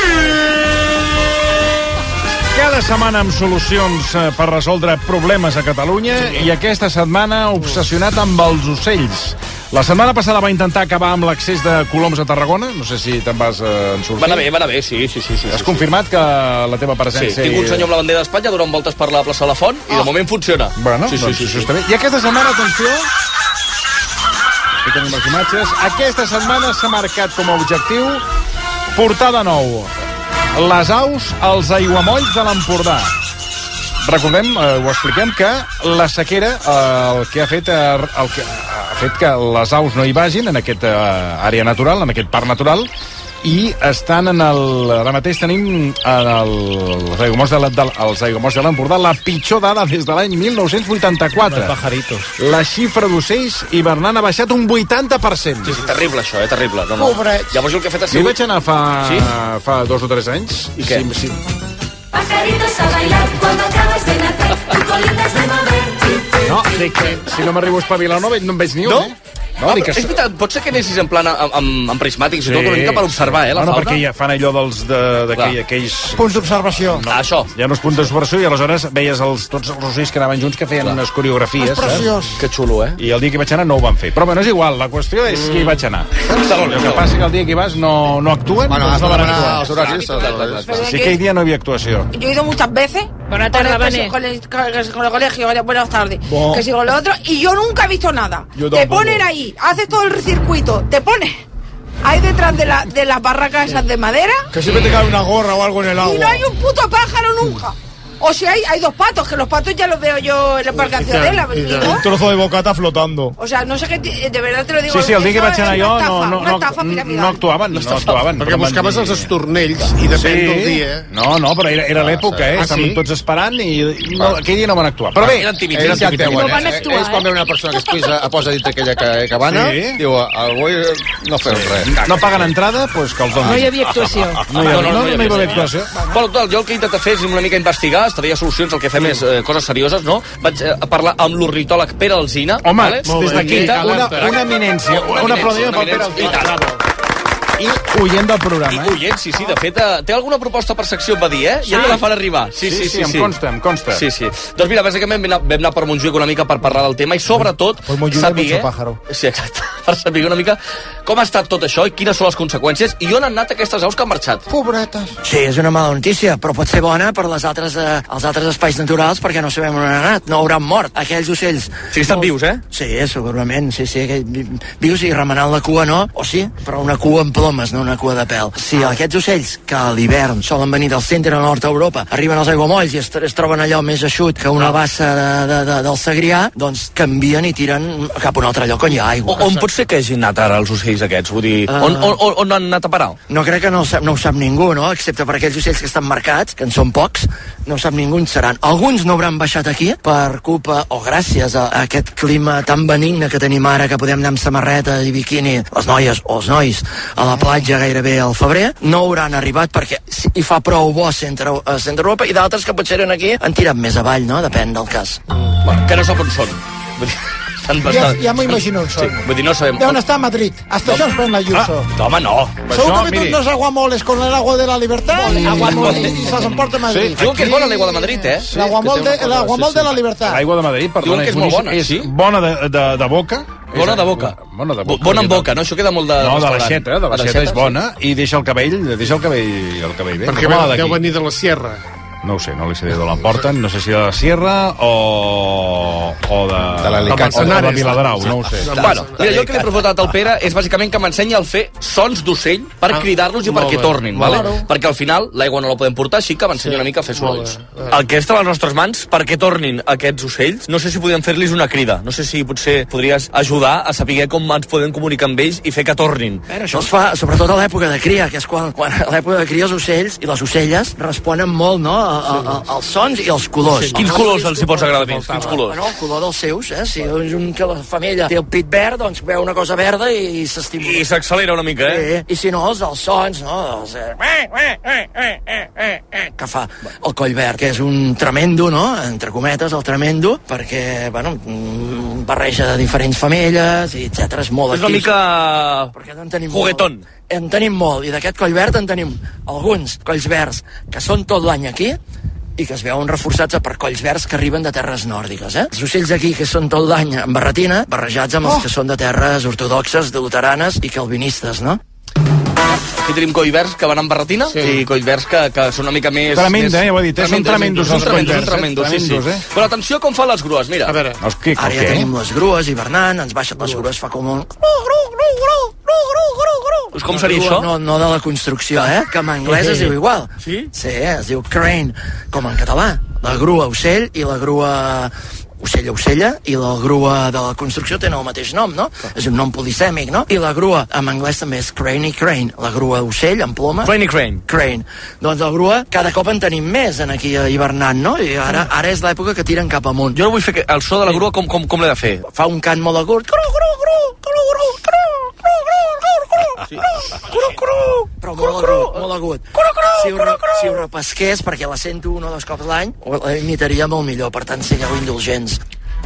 S5: Cada setmana amb solucions eh, per resoldre problemes a Catalunya i aquesta setmana obsessionat amb els ocells. La setmana passada va intentar acabar amb l'accés de coloms a Tarragona. No sé si te'n vas eh, en sortir.
S28: Va anar bé, va anar bé, sí, sí, sí. sí
S5: Has
S28: sí,
S5: confirmat que la teva
S28: Sí,
S5: presència...
S28: tinc un senyor amb la bandera d'Espanya donant voltes per la plaça de la Font i de moment funciona.
S5: Ah. Bueno,
S28: sí, sí,
S5: doncs
S28: sí,
S5: això
S28: sí.
S5: està bé. I aquesta setmana, atenció... Aquí tenim les imatges. Aquesta setmana s'ha marcat com a objectiu portar de nou les aus als aiguamolls de l'Empordà. Recordem, eh, ho expliquem, que la sequera eh, el que ha fet eh, el que ha fet que les aus no hi vagin en aquest eh, àrea natural, en aquest parc natural, i estan en el... Ara mateix tenim en el, els aiguamolls de la- de- els aiguamolls de l'Empordà la pitjor dada des de l'any 1984.
S22: pajaritos.
S5: La xifra d'ocells hivernant ha baixat un 80%.
S28: Sí, sí, terrible, això, eh? Terrible. No, no.
S5: Pobrets.
S28: Llavors el que ha fet ha
S5: Jo hi vaig
S28: sigut...
S5: anar fa, sí?
S28: Sí?
S5: fa dos o tres anys. I què? Sí, sí.
S28: Pajaritos a bailar cuando acabas de nacer, tu colita es de mover.
S5: No, dic que si no m'arribo a espavilar no, veig- no en veig ni un,
S28: No?
S5: eh?
S28: No, ah,
S5: dic que-
S28: és veritat, pot ser que anessis en plan amb, amb, amb prismàtics i tot una mica per observar, eh, la
S5: bueno,
S28: fauna.
S5: perquè ja fan allò dels de, de aquell, aquells...
S28: Punts
S5: d'observació. No,
S28: això.
S5: Hi ha uns punts d'observació i aleshores veies els, tots els ocells que anaven junts que feien Clar. unes coreografies.
S28: És preciós.
S5: Que xulo, eh? I el dia que hi vaig anar no ho van fer. Però bueno, és igual, la qüestió és mm. que hi vaig anar. Barcelona, el que passa que el dia que hi vas no, no actuen.
S3: Bueno,
S5: doncs
S3: has de
S5: no van
S3: demanar
S5: actuar.
S3: els horaris,
S5: Clar,
S3: els
S5: clar,
S3: horaris.
S5: clar, clar. Sí que aquell dia no hi havia actuació.
S23: Yo he ido muchas veces.
S19: Buenas
S23: tardes,
S19: Vane.
S23: Con el, con el- con el colegio, con el- buenas tardes.
S5: Bo.
S23: Que si con lo otro, y yo nunca he visto nada.
S5: Yo
S23: te
S5: tampoco.
S23: ponen ahí, haces todo el circuito, te pones ahí detrás de, la, de las barracas esas de madera.
S22: Que siempre te cae una gorra o algo en el
S23: Y no
S22: agua.
S23: hay un puto pájaro nunca. O si hay, hay dos patos, que los patos ya los veo yo en el Parque Ciudadela. digo.
S22: Un trozo de bocata flotando.
S23: O sea, no sé qué, ti- de verdad te lo digo.
S22: Sí, sí, el día que
S23: eso
S22: vaig anar
S23: es una
S22: jo,
S23: estafa,
S22: oh, no- mm. no-
S23: una
S22: no-
S23: estafa piramidal.
S5: No actuaven, no actuaven.
S1: Perquè
S5: No van
S1: buscaves
S5: dir-
S1: els estornells i depèn del dia.
S5: No, no, però era, era l'època, eh?
S1: Ah,
S5: Estàvem
S1: sí?
S5: tots esperant i no, aquell dia no van actuar. Però bé,
S3: Eren tímids, eren tímids.
S5: Ells ja
S3: Ells,
S5: teuen, eh?
S3: eh? ells quan veu una persona que es pisa, a posa dintre aquella ca- cabana, sí.
S5: Sí.
S3: diu, avui eh, no feu res.
S5: No paguen entrada, doncs que els donin.
S28: No hi havia actuació.
S5: No hi havia, no, no, no hi havia actuació.
S28: Bueno, total, jo el que he intentat fer és una mica investigar, estudiar solucions, el que fem és eh, coses serioses, no? Vaig eh, parlar amb l'ornitòleg Pere Alzina.
S5: Home,
S28: vale?
S5: des d'aquí,
S28: Una-
S5: una, una eminència, un aplaudiment per Pere
S28: I tant. I
S22: oient del programa,
S28: I oient, sí, sí, de fet, eh, té alguna proposta per secció, em va dir, eh?
S17: Sí.
S28: Ja te la fan arribar.
S17: Sí, sí, em consta, em consta.
S28: Sí, sí. Doncs mira, bàsicament vam anar, vam anar per Montjuïc una mica per parlar del tema i sobretot
S22: Por Montjuïc hay mucho pájaro.
S28: Sí, exacte. (laughs) Per saber una mica com ha estat tot això i quines són les conseqüències i on han anat aquestes aus que han marxat.
S23: Pobretes.
S7: Sí, és una mala notícia, però pot ser bona per les altres, eh, els altres espais naturals perquè no sabem on han anat, no hauran mort aquells ocells.
S28: Sí, estan vius, eh?
S7: Sí, segurament, sí, sí, aquell, vi- vius i remenant la cua no, o sí, però una cua amb plomes, no una cua de pèl. Si
S28: Ah.
S7: aquests ocells, que a l'hivern solen venir del centre o nord d'Europa, arriben als aiguamolls i es, es troben allò més eixut que una bassa de, de, de, del Segrià, doncs canvien i tiren cap a un altre lloc on hi ha aigua.
S28: O, on pot ser que hagin anat ara els ocells aquests? Vull dir,
S7: Ah.
S28: on, on, on, on han anat a parar?
S7: No crec que no ho sap, no ho sap ningú, no? Excepte per aquells ocells que estan marcats, que en són pocs, no ho sap ningú on seran. Alguns no hauran baixat aquí per culpa o gràcies a, a aquest clima tan benigne que tenim ara, que podem anar amb samarreta i biquini, les noies o els nois, a la platja gairebé al febrer, no hauran arribat perquè si- hi fa prou bo a centre, a centre Europa i d'altres que potser eren aquí han tirat més avall, no? Depèn del cas.
S28: Bueno, que no sap on són. Vull dir, estan
S23: Ja,
S28: bastant...
S23: ja m'ho imagino, el
S28: Sí,
S23: sol.
S28: vull dir, no sabem...
S23: Deuen estar a Madrid. Hasta això ens pren la Ayuso.
S28: Ah, home, no.
S23: Segur que ve unos aguamoles con el agua de la libertad, aguamoles, y se emporta a Madrid.
S28: Sí, diuen que és bona l'aigua de Madrid, eh?
S23: Sí, L'aguamol de, l'aguamol de la libertad.
S5: L'aigua de Madrid, perdona,
S28: Diuen que és molt bona,
S5: És
S28: sí.
S5: bona de, de, de boca.
S28: Bona
S5: És-
S28: de boca.
S5: Bona de boca.
S28: Bona en boca, no? Això queda molt de...
S5: No, de
S28: restaurant.
S5: l'aixeta, eh? de l'aixeta és bona, i deixa el cabell, deixa el cabell, el cabell bé.
S1: Perquè
S5: com
S1: ve,
S5: la d'aquí.
S1: deu venir de la sierra.
S5: No ho sé, no li sé d'on l'emporten, no sé si de la Sierra o, o de,
S1: De l'Alicante.
S5: o de, de
S1: Manzanares.
S5: Viladrau, no ho sé.
S28: Bueno, mira, jo el que li he proposat al Pere és bàsicament que m'ensenyi a fer sons d'ocell per Ah, cridar-los i molt perquè bé, tornin, molt vale? bé. perquè al final l'aigua no la podem portar, així que m'ensenyi una mica a fer sorolls.
S7: El
S28: que està a les nostres mans, perquè tornin aquests ocells, no sé si podem fer-los una crida, no sé si potser podries ajudar a saber com ens podem comunicar amb ells i fer que tornin.
S7: Però això es fa sobretot a l'època de cria, que és quan, quan a l'època de cria els ocells i les ocelles responen molt no, a, a, a, als sons i als colors.
S28: Quins colors Ah, els hi pots agradar més? Quins colors?
S7: Bueno, el color dels seus, eh? Si és un que la femella té el pit verd, doncs veu una cosa verda i, i s'estimula.
S28: I s'accelera una mica, eh?
S7: Eh, I si no, els, els sons, no? Els,
S17: eh,
S7: eh, que fa el coll verd, que és un tremendo, no? Entre cometes, el tremendo, perquè, bueno, mm, barreja de diferents femelles, i etcètera, és molt
S28: És una
S7: actiu.
S28: mica...
S7: En tenim
S28: Juguetón.
S7: Molt. En tenim molt, i d'aquest coll verd en tenim alguns colls verds que són tot l'any aquí, i que es veuen reforçats per colls verds que arriben de terres nòrdiques, eh? Els ocells aquí que són tot l'any en barretina, barrejats amb oh. els que són de terres ortodoxes, de luteranes i calvinistes, no?
S28: Aquí tenim collverds que van amb barretina sí. i collverds que, que són una mica més...
S5: Tremenda,
S28: més...
S5: eh, ho he dit, eh? Són tremendos,
S28: són tremendos,
S5: els
S28: són
S5: collverds, eh?
S28: tremendos, sí, sí.
S5: Tremendos, eh?
S28: Però atenció com fan les grues, mira. A veure.
S5: Els que,
S7: Ara
S28: eh?
S7: ja tenim les grues hivernant, ens baixen les grues, fa com un...
S28: Doncs com seria
S7: grua,
S28: això?
S7: No, no de la construcció, eh? Que en anglès es diu
S28: (laughs)
S7: igual. Sí? Sí, es diu crane, com en català. La grua ocell i la grua ocella ocella i la grua de la construcció tenen el mateix nom, no? És un nom polisèmic, no? I la grua en anglès també és crane i crane, la grua ocell amb ploma.
S28: Crane i crane.
S7: Crane. Doncs la grua cada cop en tenim més en aquí eh, hivernant, no? I ara, ara és l'època que tiren cap amunt.
S28: Mm. Jo no vull fer que el so de la grua com, com, com l'he de fer.
S7: Fa un cant molt agut. Cru, cru, cru, cru, cru, cru, cru, cru, cru, cru, cru, però molt agut, molt agut. Si ho, re- si ho repesqués, perquè la sento un o dos cops l'any, ho- la imitaria molt millor, per tant, sigueu indulgents.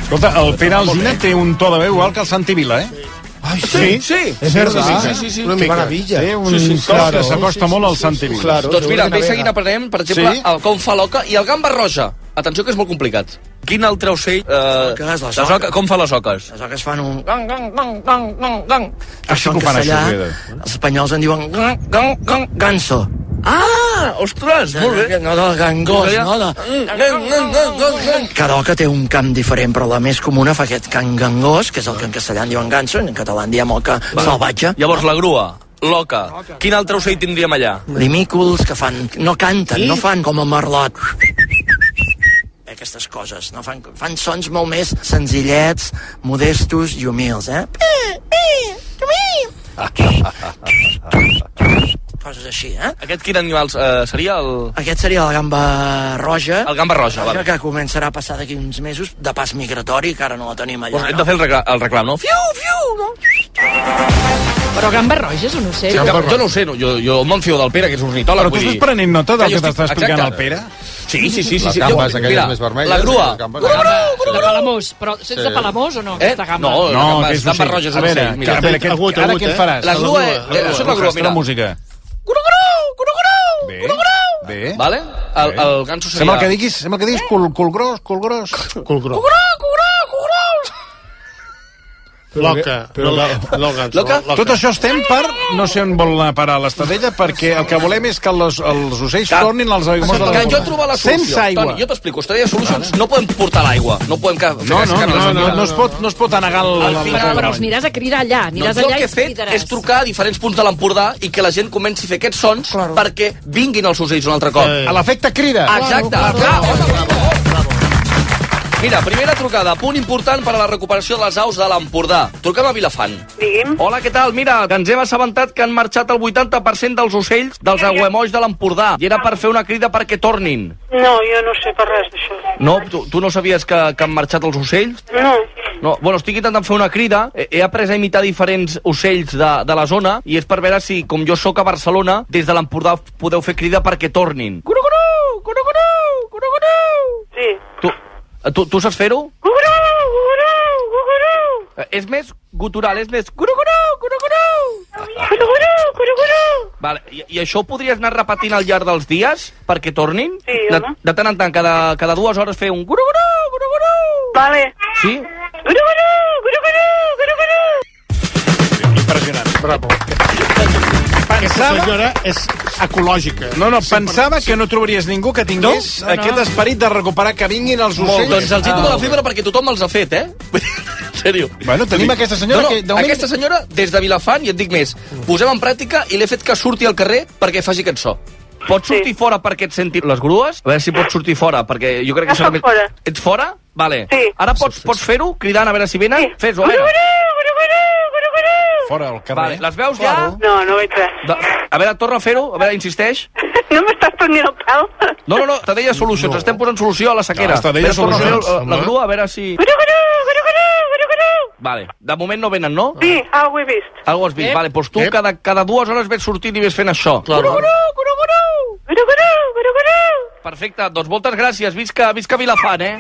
S5: Escolta, el Pere Alzina té un to de veu igual que el Santi Vila, eh?
S7: Ai,
S5: sí.
S22: Es
S5: Sí,
S22: verdad.
S5: sí, sí, sí,
S22: Una
S5: sí.
S22: mica.
S5: Maravilla.
S22: Té un
S5: Sí, sí, sí.
S22: claro.
S5: Que s'acosta molt al Santi Vila.
S22: Claro,
S28: doncs mira,
S22: segurament
S28: bé seguint
S22: navega.
S28: aprenem, per exemple,
S22: Sí?
S28: sí? el com fa l'oca i el gamba roja. Atenció, que és molt complicat. Quin altre ocell... Eh,
S7: les oques.
S28: oques, com fa les oques?
S7: Les oques fan un... Gang, gang, gang, gang, gang, gang.
S5: Ah,
S28: Això
S7: Això en
S28: que ho fan,
S7: castellà,
S28: això, Rueda.
S7: els espanyols en diuen gang, gang, gang, ganso.
S28: Ah, ostres,
S7: molt bé. No del gangós, no? De...
S28: Mm,
S7: Cada oca té un camp diferent, però la més comuna fa aquest can gangós, que és el que en castellà en diuen ganso, en català en diem oca salvatge.
S28: Llavors, la grua, l'oca. Quin altre ocell tindríem allà?
S7: Limícols que fan... No canten, no fan com el merlot. Aquestes coses, no? Fan, fan sons molt més senzillets, modestos i humils, eh? Coses així, eh?
S28: Aquest quin animal eh, seria el...
S7: Aquest seria la gamba roja.
S28: El gamba roja, val.
S7: Que començarà a passar d'aquí uns mesos de pas migratori, que ara no la tenim allà.
S28: Bueno, hem de fer el reclam, el reclam no? Fiu!
S19: Però gamba roja és un ocell.
S28: Jo no ho sé, no, jo, jo me'n fio del Pere, que és ornitòleg.
S5: Però tu
S28: vull
S5: estàs
S28: dir-
S5: prenent nota del
S28: jo
S5: que t'està
S28: estic-
S5: explicant
S28: exacte.
S5: el Pere?
S28: Sí, sí, sí. sí,
S3: Les
S28: sí.
S3: gambes
S28: Jo-
S3: aquelles
S28: mira,
S3: més vermelles,
S28: La grua.
S3: les gambes-
S19: De Palamós, però
S3: Sí.
S19: sense de Palamós o no,
S28: Eh?
S19: aquesta gamba?
S28: No, no,
S5: No, que
S28: gambes,
S5: és
S28: gambes
S5: ocell.
S28: roges
S5: A veure,
S28: d'ocell.
S5: que- a veure, aquest- Agut, ara agut, què et eh? faràs?
S28: La
S5: La
S28: grua,
S5: grua,
S28: eh,
S5: la
S28: surt
S5: grua.
S28: la grua,
S5: Fes-te
S28: mira.
S5: la música. Bé, bé.
S28: Vale? El, el ganso seria...
S5: Sembla que diguis, sembla que diguis cul, cul gros, cul gros. Cul gros.
S1: Loca,
S5: Però
S1: no
S5: que-
S1: lo- loca, loca.
S5: Tot això estem per... No sé on vol anar a parar l'estadella, perquè el que volem és que els, els ocells tornin als aigües de la
S28: Que jo
S5: vora.
S28: he trobat la solució.
S5: Sense aigua.
S28: Toni, jo t'explico. Estrella Solutions no podem portar l'aigua. No podem... Que, fer
S5: No,
S28: gràcies
S5: no,
S28: que
S5: no, no, no,
S28: mira.
S5: no, es pot, no es pot anegar el...
S28: Al
S5: el-
S28: final,
S5: el-
S28: però
S19: Doncs aniràs a cridar allà,
S28: No,
S19: aniràs
S28: jo Doncs el
S19: allà
S28: que he
S19: i
S28: fet
S19: cridaràs.
S28: és trucar a diferents punts de l'Empordà i que la gent comenci a fer aquests sons perquè vinguin els ocells un altre cop.
S5: A l'efecte crida.
S28: Exacte. Claro, claro, claro. Mira, primera trucada, punt important per a la recuperació de les aus de l'Empordà. Truquem a Vilafant. Digui'm. Hola, què tal? Mira, que ens hem assabentat que han marxat el 80% dels ocells dels aguemolls de l'Empordà i era per fer una crida perquè tornin.
S6: No, jo no sé per res d'això.
S28: No, tu, tu no sabies que, que han marxat els ocells?
S6: No.
S28: No, bueno, estic intentant fer una crida. He, he après a imitar diferents ocells de, de la zona i és per veure si, com jo sóc a Barcelona, des de l'Empordà podeu fer crida perquè tornin.
S6: Sí.
S28: Tu, tu, tu saps fer-ho?
S6: Gugurú, gugurú, gugurú.
S28: Eh, És més gutural, és més... Gurugurú, gurugurú.
S6: Gugurú, gugurú.
S28: Vale, i, I això ho podries anar repetint al llarg dels dies perquè tornin?
S6: Sí,
S28: de,
S6: home.
S28: de tant en tant, cada, cada dues hores fer un gurugurú.
S6: Vale.
S28: Sí?
S6: Gugurú, gugurú, gugurú.
S5: Impressionant. Bravo.
S1: Aquesta
S5: Pensava-
S1: senyora és ecològica.
S5: No, no,
S1: Sempre-
S5: pensava que no trobaries ningú que tingués
S1: No? No, no.
S5: aquest esperit de recuperar que vinguin els
S28: Molt,
S5: ocells. Ah.
S28: doncs els hi toco la fibra perquè tothom els ha fet, eh? (laughs) en sèrio. Bueno,
S5: tenim aquesta senyora
S28: no, no,
S5: que de moment-
S28: Aquesta senyora, des de Vilafant, i et dic més, posem en pràctica i l'he fet que surti al carrer perquè faci aquest so. Pots sortir sí. fora perquè et sentin les grues? A veure si pots sortir fora, perquè jo crec que...
S6: Ja soc
S28: més-
S6: fora.
S28: Ets fora? Vale. Sí. Ara pots, pots fer-ho, cridant a veure si venen? Sí. Fes-ho, a veure.
S5: Fora, al
S28: Vale,
S5: carrer.
S28: les veus ja?
S6: No, no veig res.
S28: De... A veure, torna a fer-ho, a veure, insisteix.
S6: No m'estàs prenent el pèl.
S28: No, no, no, te deia solucions, no. estem posant solució a la sequera.
S5: Ah, te deia
S28: Espera, torna a fer-ho,
S5: solucions.
S28: La grua, a veure si...
S6: Gurugurú, gurugurú, gurugurú.
S28: Vale, de moment no venen, no?
S6: Sí, ah, ho he vist.
S28: Algo has vist.
S6: Ep.
S28: Vale, doncs tu
S5: Eh?
S6: Ep.
S28: cada, cada dues hores ves sortint i ves fent això.
S6: Gurugurú, gurugurú. Gurugurú, gurugurú.
S28: Perfecte, doncs moltes gràcies. Visca, visca Vilafant, eh?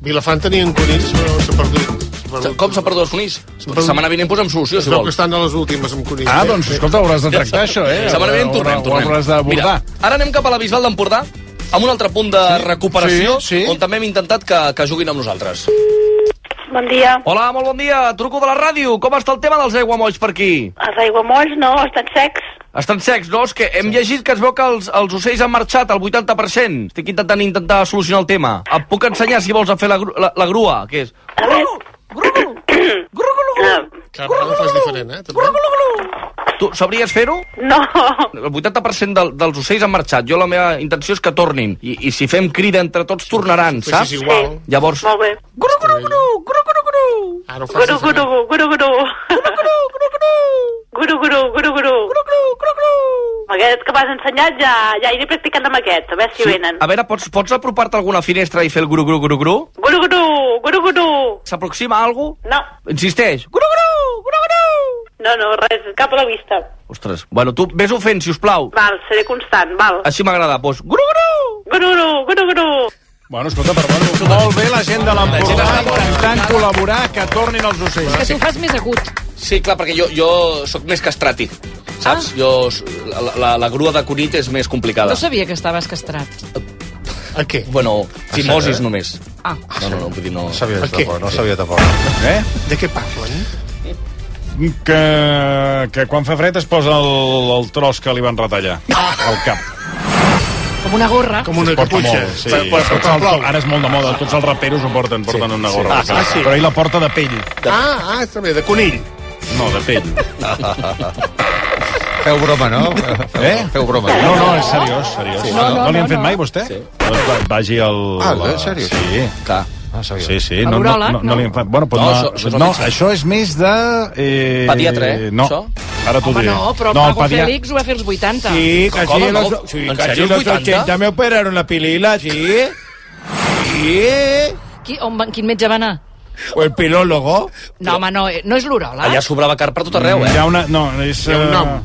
S1: Vilafant tenia un conills, però s'ha perdut.
S28: Com s'ha perdut Doncs els conills? La setmana vinent posem solució, si
S1: Es veu que
S28: vols.
S1: estan a les últimes amb conills.
S28: Ah,
S1: eh?
S28: doncs,
S1: Sí.
S28: escolta, hauràs de tractar això, eh?
S5: Setmana
S28: vinent tornem, tornem.
S5: Ho hauràs d'abordar.
S28: Mira, ara anem cap a la Bisbal d'Empordà, amb un altre punt de sí, recuperació, sí, sí. on també hem intentat que, que juguin amb nosaltres.
S6: Bon dia.
S28: Hola, molt bon dia. Truco de la ràdio. Com està el tema dels aiguamolls per aquí?
S6: Els aiguamolls no, estan secs.
S28: Estan secs, no? És que hem llegit que es veu que els, els ocells han marxat al 80%. Estic intentant intentar solucionar el tema. Et puc ensenyar, si vols, a fer la, gru- la, la grua, que és...
S6: (clears throat)
S1: Cada vegada ho fas diferent, eh? També.
S28: Tu sabries fer-ho?
S6: No.
S28: El 80% del, dels ocells han marxat. Jo la meva intenció és que tornin. I, i si fem crida entre tots, tornaran,
S1: Pues
S28: saps?
S1: és igual.
S28: Llavors...
S6: Molt bé.
S1: Ara ho eh? fas
S6: Guru, guru,
S1: diferent.
S6: guru, guru. Guru, guru, guru, guru. Amb Aquest que m'has ensenyat ja, ja iré practicant amb aquest, a veure si venen.
S28: A veure, pots, pots apropar-te a alguna finestra i fer el gru-gru-gru-gru?
S6: Guru, guru, guru, guru.
S28: S'aproxima algú?
S6: No,
S28: Insisteix?
S6: no, no, res, cap a la vista.
S28: Ostres, bueno, tu ves-ho fent, si us plau.
S6: Val, seré constant, val.
S28: Així m'agrada, doncs... Gru,
S6: Guru, guru, guru, guru.
S5: Bueno, escolta, perdona. Molt bé la gent de l'Empordà intentant col·laborar que tornin els ocells.
S19: Que tu ho fas més agut.
S28: Sí, clar, perquè jo, jo sóc més castrati, saps? Ah. Jo, s- la, la, la grua de Cunit és més complicada.
S19: No sabia que estaves castrat.
S28: A què? Bueno, fimosis només.
S19: Ah.
S28: No, no, no, vull dir, no...
S3: Sabia
S28: A què?
S3: tampoc, no sabia tampoc.
S5: Eh?
S1: De què parlen?
S5: Que, que quan fa fred es posa el, el tros que li van retallar
S28: Ah.
S5: al cap.
S19: Com una gorra.
S1: Com una
S5: Es porta
S1: caputxa.
S5: molt, sí.
S1: Per- per- per-
S5: Tots el-
S1: plou.
S5: ara és molt de moda, tots els raperos ho porten, porten una gorra.
S1: sí.
S5: al cap.
S1: Ah, sí.
S5: Però ell la porta de pell.
S1: Ah, ah, també, de conill.
S5: No, de pell.
S3: Feu broma, no?
S5: Eh?
S3: Feu broma.
S5: No, no, és seriós, seriós.
S3: Sí.
S5: No,
S3: No,
S5: no,
S3: no,
S5: li han
S3: no,
S5: fet
S3: no.
S5: mai, vostè? Sí. Doncs va- vagi al...
S3: Ah,
S5: la-
S3: en sèrio?
S5: Sí.
S28: Clar.
S3: Ah, sabia.
S5: Sí, sí.
S3: Al
S5: No, no,
S3: uròleg,
S5: no,
S3: no?
S5: no, li han fet... Bueno, però
S3: No,
S5: no,
S3: això- això és
S5: això,
S3: el
S5: no,
S3: metge.
S5: això és més de... Eh,
S28: Pediatre, eh,
S5: No.
S28: això?
S5: Ara t'ho
S19: Home,
S5: diré.
S19: no, però el Pago Félix ho va fer als 80.
S22: Sí, casi
S5: ¿Cómo
S22: los,
S5: no?
S22: sí,
S5: ¿En
S22: casi
S5: serio, el
S22: los
S5: 80?
S22: 80 me operaron la pilila, sí. Sí.
S19: Qui, on, va- quin metge va anar?
S22: O el pilólogo.
S19: No, home, no, eh, no és l'uròleg.
S5: Mm,
S28: Allà sobrava carn per tot arreu, eh?
S5: Hi ha una... No, és...
S28: Hi ha un nom.
S5: eh,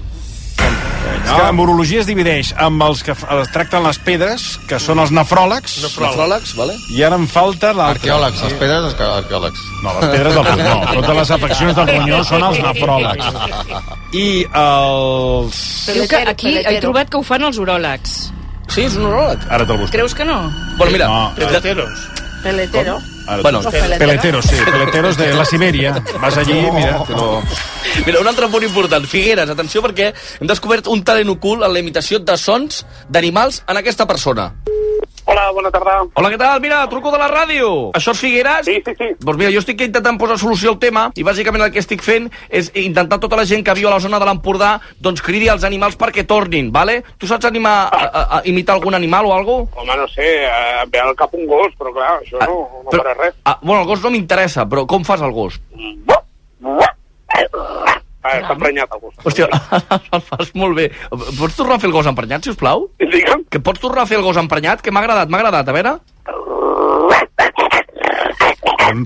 S5: És que l'embrologia es divideix amb els que fa- es tracten les pedres, que són els nefròlegs.
S3: Nefròlegs, vale.
S5: I ara en falta l'altre.
S3: Arqueòlegs, les pedres arque- arqueòlegs.
S5: No, les pedres del ronyó. Totes les afeccions del ronyó són els nefròlegs. I els...
S19: Diu que aquí he trobat que ho fan els uròlegs.
S28: Sí, és un uròleg.
S5: Ara te'l busco.
S19: Creus que no?
S28: Bueno, mira...
S5: No.
S28: Peleteros.
S19: Peletero.
S5: Ara,
S28: Bueno,
S5: bueno, peleteros, sí, peleteros de la Sibèria. Vas allí, mira, te lo...
S28: Mira, un altre punt important. Figueres, atenció, perquè hem descobert un talent ocult en la imitació de sons d'animals en aquesta persona.
S18: Hola, bona tarda.
S28: Hola, què tal? Mira, truco de la ràdio. Això és Figueres? Sí, sí, sí. Doncs mira, jo estic intentant posar solució al tema i bàsicament el que estic fent és intentar tota la gent que viu a la zona de l'Empordà doncs cridi als animals perquè tornin, vale? Tu saps animar, a, a, a imitar algun animal o alguna
S18: Home, no sé, eh, em ve al cap un gos, però clar, això no, no
S28: però-
S18: farà res.
S28: Ah, bueno, el gos no m'interessa, però com fas el gos?
S18: Ah, està emprenyat el gos.
S28: Hòstia, (laughs) el fas molt bé. Pots tornar a fer el gos emprenyat, si us plau?
S18: Digue'm.
S28: Que pots tornar a fer el gos emprenyat? Que m'ha agradat, m'ha agradat, a veure.
S5: Però,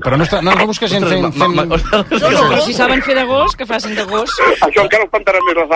S5: però no, està, no, no busques gent fent... fent...
S19: No, no, però si saben fer de gos, que facin de gos.
S18: Això encara us plantarà més les